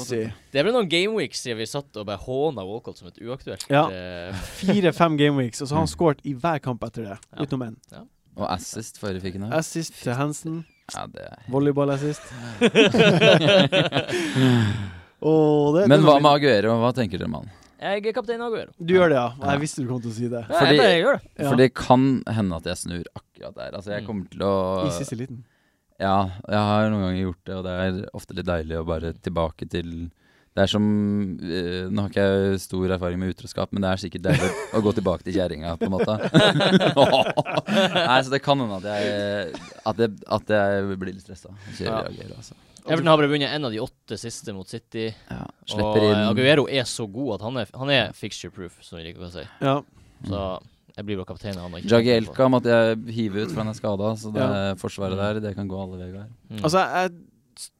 Swansea. Det ble noen gameweeks siden vi satt og bare håna Walcott som et uaktuelt Ja. eh, Fire-fem gameweeks, og så har han skåret i hver kamp etter det. Ja. Utenom én. Og assist forrige fikk han her. Assist til Hansen. Ja, det er- Volleyballassist. Og det, Men det hva med Aguero? Hva tenker dere om han? Jeg er kaptein Aguero. Du gjør det, ja. Ja. Jeg visste du kom til å si det. Ja, Fordi- jeg bare gjør det. Ja. For det kan hende at jeg snur akkurat der. Altså, jeg Mm. kommer til å I siste liten. Ja, jeg har noen ganger gjort det, og det er ofte litt deilig å bare tilbake til det er som eh, Nå har ikke jeg stor erfaring med utroskap, men det er sikkert deilig å gå tilbake til kjerringa, på en måte. Nei, så det kan hende at jeg At jeg, at jeg blir litt stressa. Ja. Kjører Aguero, altså. Everton har bare vunnet en av de åtte siste mot City. Ja, Og slipper eh, inn Aguero er så god at han er, han er fixture proof, som vi liker å si. Ja. Så jeg blir vel kaptein. Han og ikke Jagielka måtte jeg hive ut, for han er skada. Så det Ja. forsvaret der, det kan gå alle veier. Mm. Altså, jeg,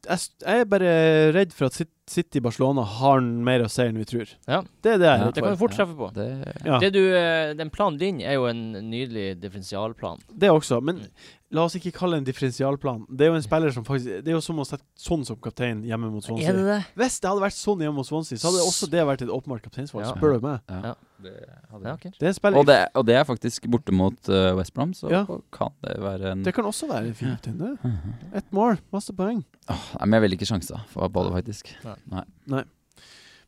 jeg, jeg er bare redd for at Sit- City Barcelona har mer å si enn vi tror. Ja. Det er det jeg Ja. er redd det kan du fort treffe på. Det for. Ja. Det du, eh, den planen din er jo en nydelig differensialplan. Det også, men La oss ikke kalle det en differensialplan. Det er jo en spiller som faktisk Det er jo som å sette sånn som kaptein hjemme mot Swansea. Er det det? Hvis det hadde vært sånn hjemme mot Swansea, så hadde også det vært et åpenbart kapteinsvalg. Ja. Spør du meg. Ja, ok. Det er en spiller Og det, og det er faktisk borte mot eh, West Brom, så Ja. kan det være en Det kan også være en fin kaptein, det. Ett mål, masse poeng. Åh, Nei, men jeg velger ikke sjanser for Balle, faktisk.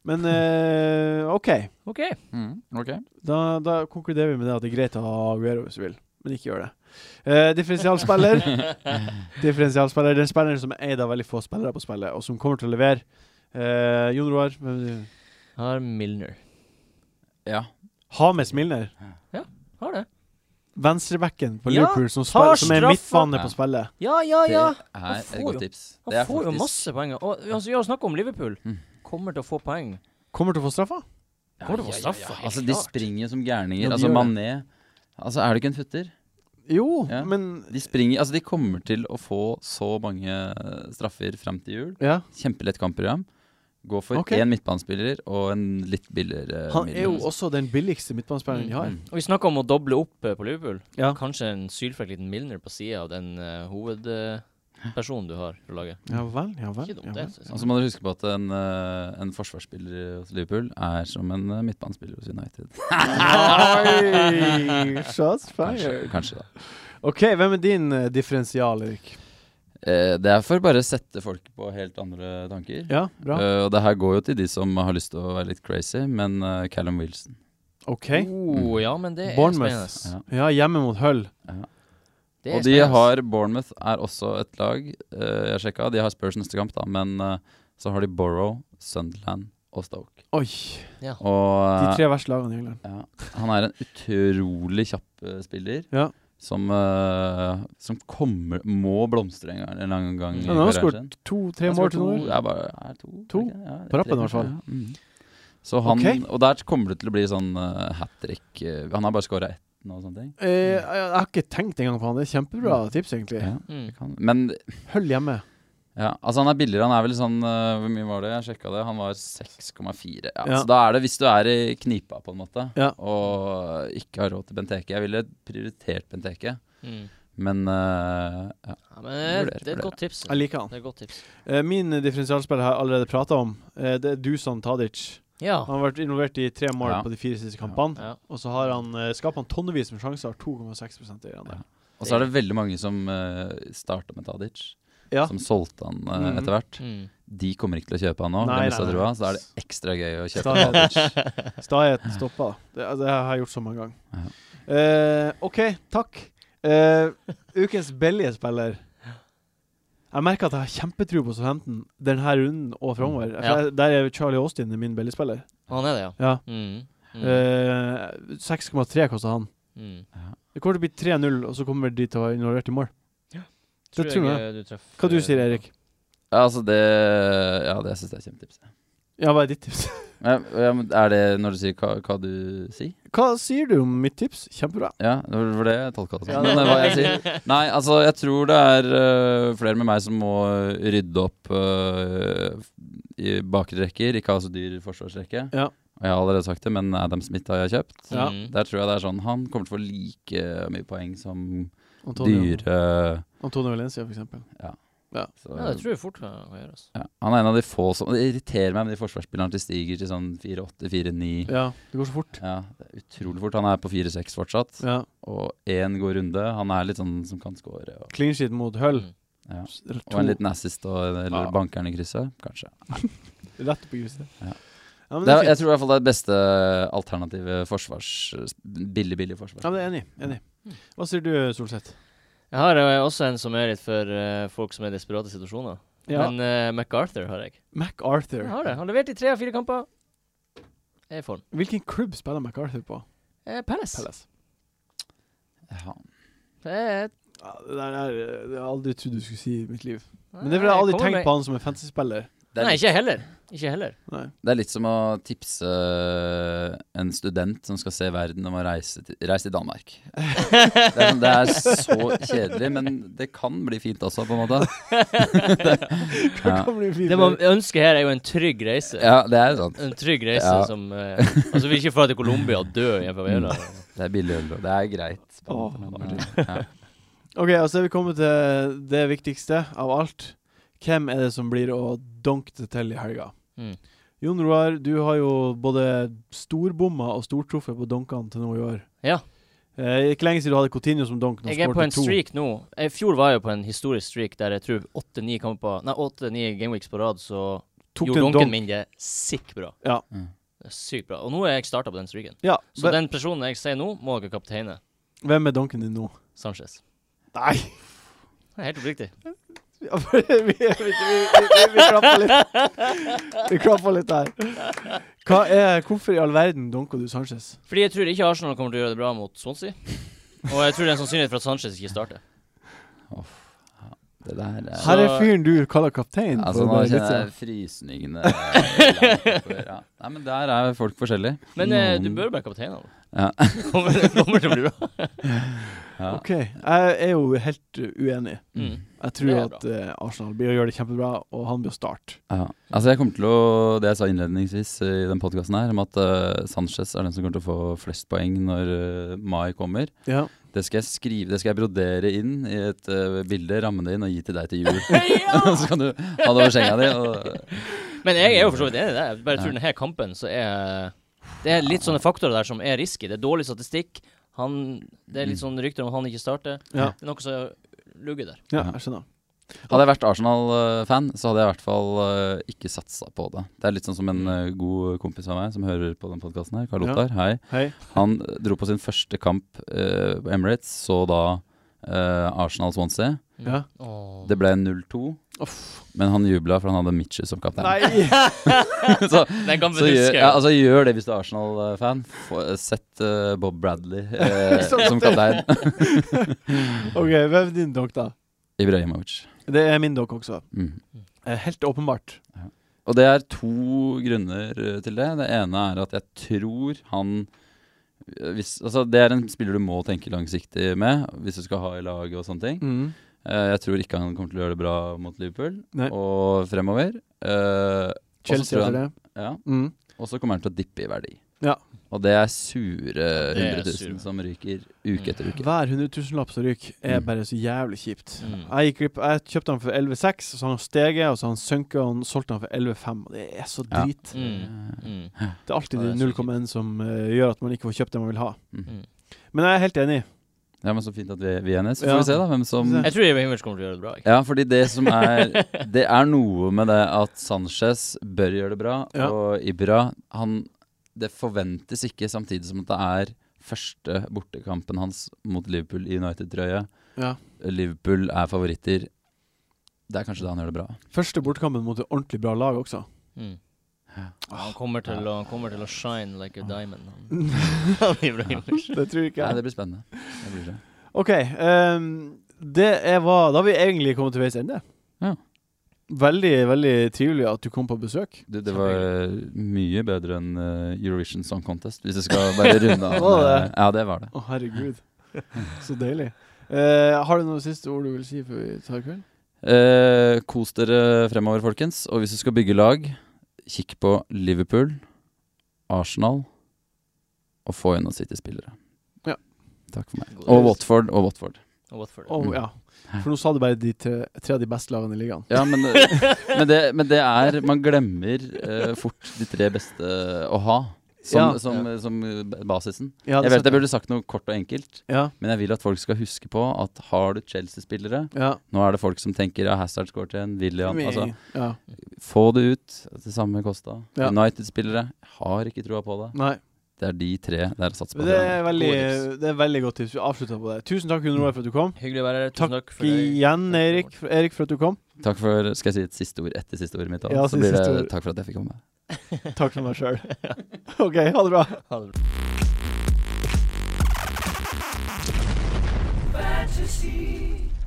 Men eh, OK. Ok. Mm, ok. Da, da konkluderer vi med det at det er greit å ha Aguero hvis du vil, men ikke gjør det. Eh, differensialspiller. differensialspiller. Det er en spiller som er eid av veldig få spillere på spillet, og som kommer til å levere. Eh, Jon Roar, eh, hvem vil du- Har Milner. Ja. Hames Milner. Har det. Venstrebacken på Ja, Liverpool som, spiller, tar som er straffa. midtbane Ja. på spillet. Ja, ja, Det ja! er får et godt jo- tips. Han Det er får jo faktisk- masse poeng. Og altså, vi har snakket om Liverpool. Mm. Kommer til å få poeng. Kommer til å få straffa. Kommer til å få straffa, helt Altså, de klart. springer jo som Ja, gærninger. de Altså, gjør det. Mané Altså, er det ikke en futter? Jo, Ja. men De springer Altså, de kommer til å få så mange eh, straffer fram til jul. ja. Kjempelett kampprogram. Gå for Ok. én midtbanespiller og en litt billigere Han er jo midtbanespiller. også den billigste midtbanespilleren de har. eh, Mm. Og vi snakket om å doble opp eh, på Liverpool. Ja. Kanskje en sylfrekk liten Milner på siden av den eh, hovedpersonen du har på laget. Ja vel, ja vel. Ikke dumt, Ja det. vel. Altså, synes jeg. Og så må dere huske på at en, eh, en forsvarsspiller hos Liverpool er som en eh, midtbanespiller hos United. Oi, Shots Kanskje, fired. kanskje da. OK, hvem er din eh, differensial, Erik? Eh, Det er for bare å sette folk på helt andre tanker. Ja, bra. Eh, og det her går jo til de som har lyst til å være litt crazy, men eh, Callum Wilson. OK. Oh, ja, men det er Bournemouth. spennende. Ja, hjemme mot Hull. Det er Og de spennende. har Bournemouth er også et lag. eh, jeg sjekka, de har Spurs neste kamp, da, men eh, så har de Borough, Sunderland og Stoke. Oi. ja. De Og eh, tre verste lagene i England. ja, han er en utrolig kjapp eh, spiller. Ja. Som, eh, som kommer må blomstre en gang. En eller annen gang i Ja, nå har han karrieren skåret sin. to-tre Han mål skåret til to- nå. ja, bare, er det to, To. Er det ikke? Ja, På rappen tre, i hvert fall. kanskje, ja. Mm. Så han, Ok. Og der kommer det til å bli sånn uh, hat trick. eh, han har bare skåra ett nå og sånne ting. Eh, jeg jeg har ikke tenkt engang på han. Det er kjempebra tips, egentlig. Ja, Mm. det kan. Men Hull hjemme. ja, altså han er billigere. Han er vel sånn eh, Hvor mye var det? Jeg sjekka det. Han var 6,4. Ja, Ja. Så da er det hvis du er i knipa, på en måte, Ja. og ikke har råd til Benteke Jeg ville prioritert Benteke, Mm. men eh, ja. Ja, men det er, Vurderer, det er et vurderer. godt tips. Jeg liker han. Det er et godt tips. Eh, min differensialspiller har jeg allerede prata om. Eh, det er Dusan Tadic. Ja. Han har vært involvert i tre mål Ja. på de fire siste kampene. ja. Og så har han eh, skaper han tonnevis med sjanser. har 2,6 i Ja. andel. Og så er det veldig mange som uh, starta med Tadic, Ja. som solgte han eh, Mhm. etter hvert. Mm. De kommer ikke til å kjøpe han nå, Nei, de mistet nei, nei. trua, så da er det ekstra gøy å Stadig. kjøpe Tadic. Staheten stoppa. Det, altså, det har jeg gjort så mange ganger. Ja. Eh, OK, takk. Eh, ukens billige spiller. Jeg merker at jeg har kjempetro på Southampton denne runden og framover. Mm. Ja. Der er Charlie Austin min billigspiller. Han er det, ja. Ja. Mm. Mm. Eh, 6,3 koster han. Mm. Det kommer til å bli 3-0, og så kommer de til å være involvert i mål. Det tror jeg. eh, du treffer- Hva du sier Erik? Ja, altså det Ja, det syns jeg er kjempetips. Ja, hva er ditt tips? Ja, ja, men er det når du sier hva, hva du sier? Hva sier du om mitt tips? Kjempebra. Ja, det var det jeg tolka det som. Ja, Men det- eh, hva jeg sier Nei, altså, jeg tror det er eh, flere med meg som må rydde opp eh, i bakre rekker, ikke ha så dyr forsvarsrekke. Ja. Og jeg har allerede sagt det, men Adam Smith har jeg kjøpt. Ja. Mm. Der tror jeg det er sånn Han kommer til å få like mye poeng som Antonio, dyre Antonio Valencia, for eksempel. så- Ja, det tror jeg fort kan kan gjøres. ja. Han er en av de få som Det irriterer meg med de forsvarsspillerne til stiger til sånn 4-8, 4-9. Ja, det går så fort. Ja, det er utrolig fort. Han er på 4-6 fortsatt, Ja. og én god runde. Han er litt sånn som kan score. Og, Clean sheet mot Hull. Mm. ja. og To. en liten assist og, eller Ja. banker han i krysset, kanskje. Rett opp i huset. Ja. men Det det er, er jeg fint. tror i hvert fall det er det beste alternativet forsvars... Billig, billig forsvar. Ja, men det er enig. enig. Mm. Hva sier du, Solseth? Jeg har eh, også en som er litt for eh, folk som er i desperate situasjoner. Men eh, MacArthur har jeg. MacArthur. Jeg har det. Han leverte i tre av fire kamper. Er i form. Hvilken klubb spiller MacArthur på? Eh, Palace. Palace. Ja. Det er et- Ja, det der er det har jeg aldri trodd du skulle si i mitt liv. Men det er fordi jeg aldri kommer tenkt med- på han som en fantasy-spiller. Det, er Nei, litt, ikke heller. Ikke heller. Nei. det er litt som å tipse eh, en student som skal se verden, om å reise til, reise til Danmark. Det er, sånn, det er så kjedelig, men det kan bli fint også, på en måte. ja. Kan bli fint. Det man ønsker her, er jo en trygg reise. ja, det er sånn. sant. En trygg reise Ja. som eh, Altså, vi vil ikke dra til Colombia og dø i en favela. Det er billig øl, og det er greit. Åh, Men, ja. OK, altså er vi kommet til det viktigste av alt. Hvem er det som blir å donke det til i helga? Mm. Jon Roar, du har jo både storbomma og stortruffet på donkene til nå i år. Ja. Eh, ikke lenge siden du hadde Coutinho som donk. nå Jeg er skårte på en to. streak nå. I fjor var jeg jo på en historisk streak der jeg tror åtte-ni kamper Nei, åtte-ni gameweeks på rad, så Tok gjorde den donken donk. min det sick bra. Ja. Mm. Det er Sykt bra. Og nå er jeg starta på den streaken. Ja, Så hve- den personen jeg sier nå, må dere kapteine. Hvem er donken din nå? Sanchez. Nei! Det er helt oppriktig. Ja, for vi, vi, vi, vi, vi klappa litt. Vi klappa litt der. Hva er, hvorfor i all verden donker du Sanchez? Fordi jeg tror ikke Arsenal kommer til å gjøre det bra mot Swansea. Og jeg tror det er en sannsynlighet for at Sanchez ikke starter. Det der er Så- Her er fyren du kaller kaptein. for Altså, nå bare litt kjenner jeg siden. frysningene langt oppover, ja. Nei, men der er folk forskjellige. Men eh, du Noen- bør være kaptein. da. Ja. Kommer, det kommer til å bli bra. ja. OK. Jeg er jo helt uh, uenig. Mm. Jeg Det tror er at eh, Arsenal blir å gjøre det kjempebra, og han blir å starte. Ja. Altså, jeg kommer til å Det jeg sa innledningsvis eh, i den podkasten her, om at eh, Sanchez er den som kommer til å få flest poeng når eh, mai kommer, Ja. det skal jeg skrive Det skal jeg brodere inn i et eh, bilde, ramme det inn og gi til deg til jul. så kan du ha det over senga di. Og, Men jeg er jo for så vidt enig i det. Jeg bare tror denne kampen så er Det er litt sånne faktorer der som er risky. Det er dårlig statistikk. Han, det er litt Mm. sånn rykter om at han ikke starter. Ja. Det er noe som lugger der. ja, jeg skjønner. hadde jeg vært Arsenal-fan, så hadde jeg i hvert fall eh, ikke satsa på det. Det er litt sånn som en eh, god kompis av meg som hører på den podkasten her, Karl Mm. Ja. Ottar. Hei. Hei. Han dro på sin første kamp eh, på Emirates, så da eh, Arsenal-Swansea. Ja. Mm. Åh. Det ble 0-2, Uff. men han jubla for han hadde Mitchu som kaptein. Nei! så, Den kampen så gjør, husker jeg. ja, altså, gjør det hvis du er Arsenal-fan. Få- Sett eh, Bob Bradley eh, som kaptein. OK, hvem er din donk, da? Ibrahimovic. Det er min donk også. Mm. Eh, Helt åpenbart. Og det er to grunner eh, til det. Det ene er at jeg tror han eh, hvis, altså Det er en spiller du må tenke langsiktig med hvis du skal ha i laget og sånne ting. Mm. Eh, jeg tror ikke han kommer til å gjøre det bra mot Liverpool Nei. og fremover. Eh, Chelsea tror etter det. ja. Mm. Og så kommer han til å dippe i verdi. Ja. Og det er sure er 100 000 sure. som ryker uke etter uke. Hver hundretusenlapp som ryker, er Mm. bare så jævlig kjipt. Mm. Jeg, gikk glipp, jeg kjøpte han for 11,6, og så har han steget, og så har han sunket, og han solgte han for 11,5. og Det er så Ja. drit. Mm. Mm. Det er alltid Ja, det er de så 0,1 som eh, gjør at man ikke får kjøpt det man vil ha. Mm. Men jeg er helt enig. Ja, men Så fint at vi, vi er enige. Så får Ja. vi se da hvem som Vi får se. Jeg tror Ibrahimovic kommer til å gjøre det bra. Ikke? Ja, fordi det som er Det er noe med det at Sanchez bør gjøre det bra, Ja. og Ibra han, Det forventes ikke, samtidig som at det er første bortekampen hans mot Liverpool i United-trøye. Ja. Liverpool er favoritter. Det er kanskje da han gjør det bra. Første bortekampen mot et ordentlig bra lag også. Mm. Ja. Han, kommer til å, han kommer til å shine like a diamond. Han, han Ibrahimovic. Det tror ikke Nei, jeg. det blir spennende. Det blir det. OK. ehm, det er hva Da har vi egentlig kommet til veis ende. Ja. Veldig, veldig trivelig at du kom på besøk. Du, det var mye bedre enn eh, Eurovision Song Contest, hvis jeg skal bare runde av. Var det? Ja, det var det. Å, herregud. Så deilig. Eh, har du noen siste ord du vil si før vi tar kveld? Eh, kos dere fremover, folkens. Og hvis du skal bygge lag, kikk på Liverpool, Arsenal og få inn noen City-spillere. Ja. Takk for meg. God Og dag. Watford og Watford. Og Watford. Å Mm. ja. For nå sa du bare de tre, tre av de beste lagene i ligaen. Ja, men, eh, men, det, men det er Man glemmer eh, fort de tre beste å ha som, Ja. som, som, basisen. Ja, Jeg vet sant. jeg burde sagt noe kort og enkelt, Ja, men jeg vil at folk skal huske på at har du Chelsea-spillere ja. Nå er det folk som tenker ja, Hazard scoret igjen, William altså, ja. Få det ut til samme kosta. Ja. United-spillere har ikke troa på det. Nei. Det er de tre det er å satse på. Men det er veldig, God det er veldig godt tips. Vi avslutter på det. Tusen takk, Gunnar Roar, for at du kom. Hyggelig å være her. Takk Tusen takk for deg. Igjen, Erik, for, Erik, for at du kom. Takk for Skal jeg si et siste ord etter siste ordet mitt? da? Ja, så si blir det siste ord. takk for at jeg fikk komme. Takk for meg sjøl. OK, ha det bra. Ha det bra. fantasy.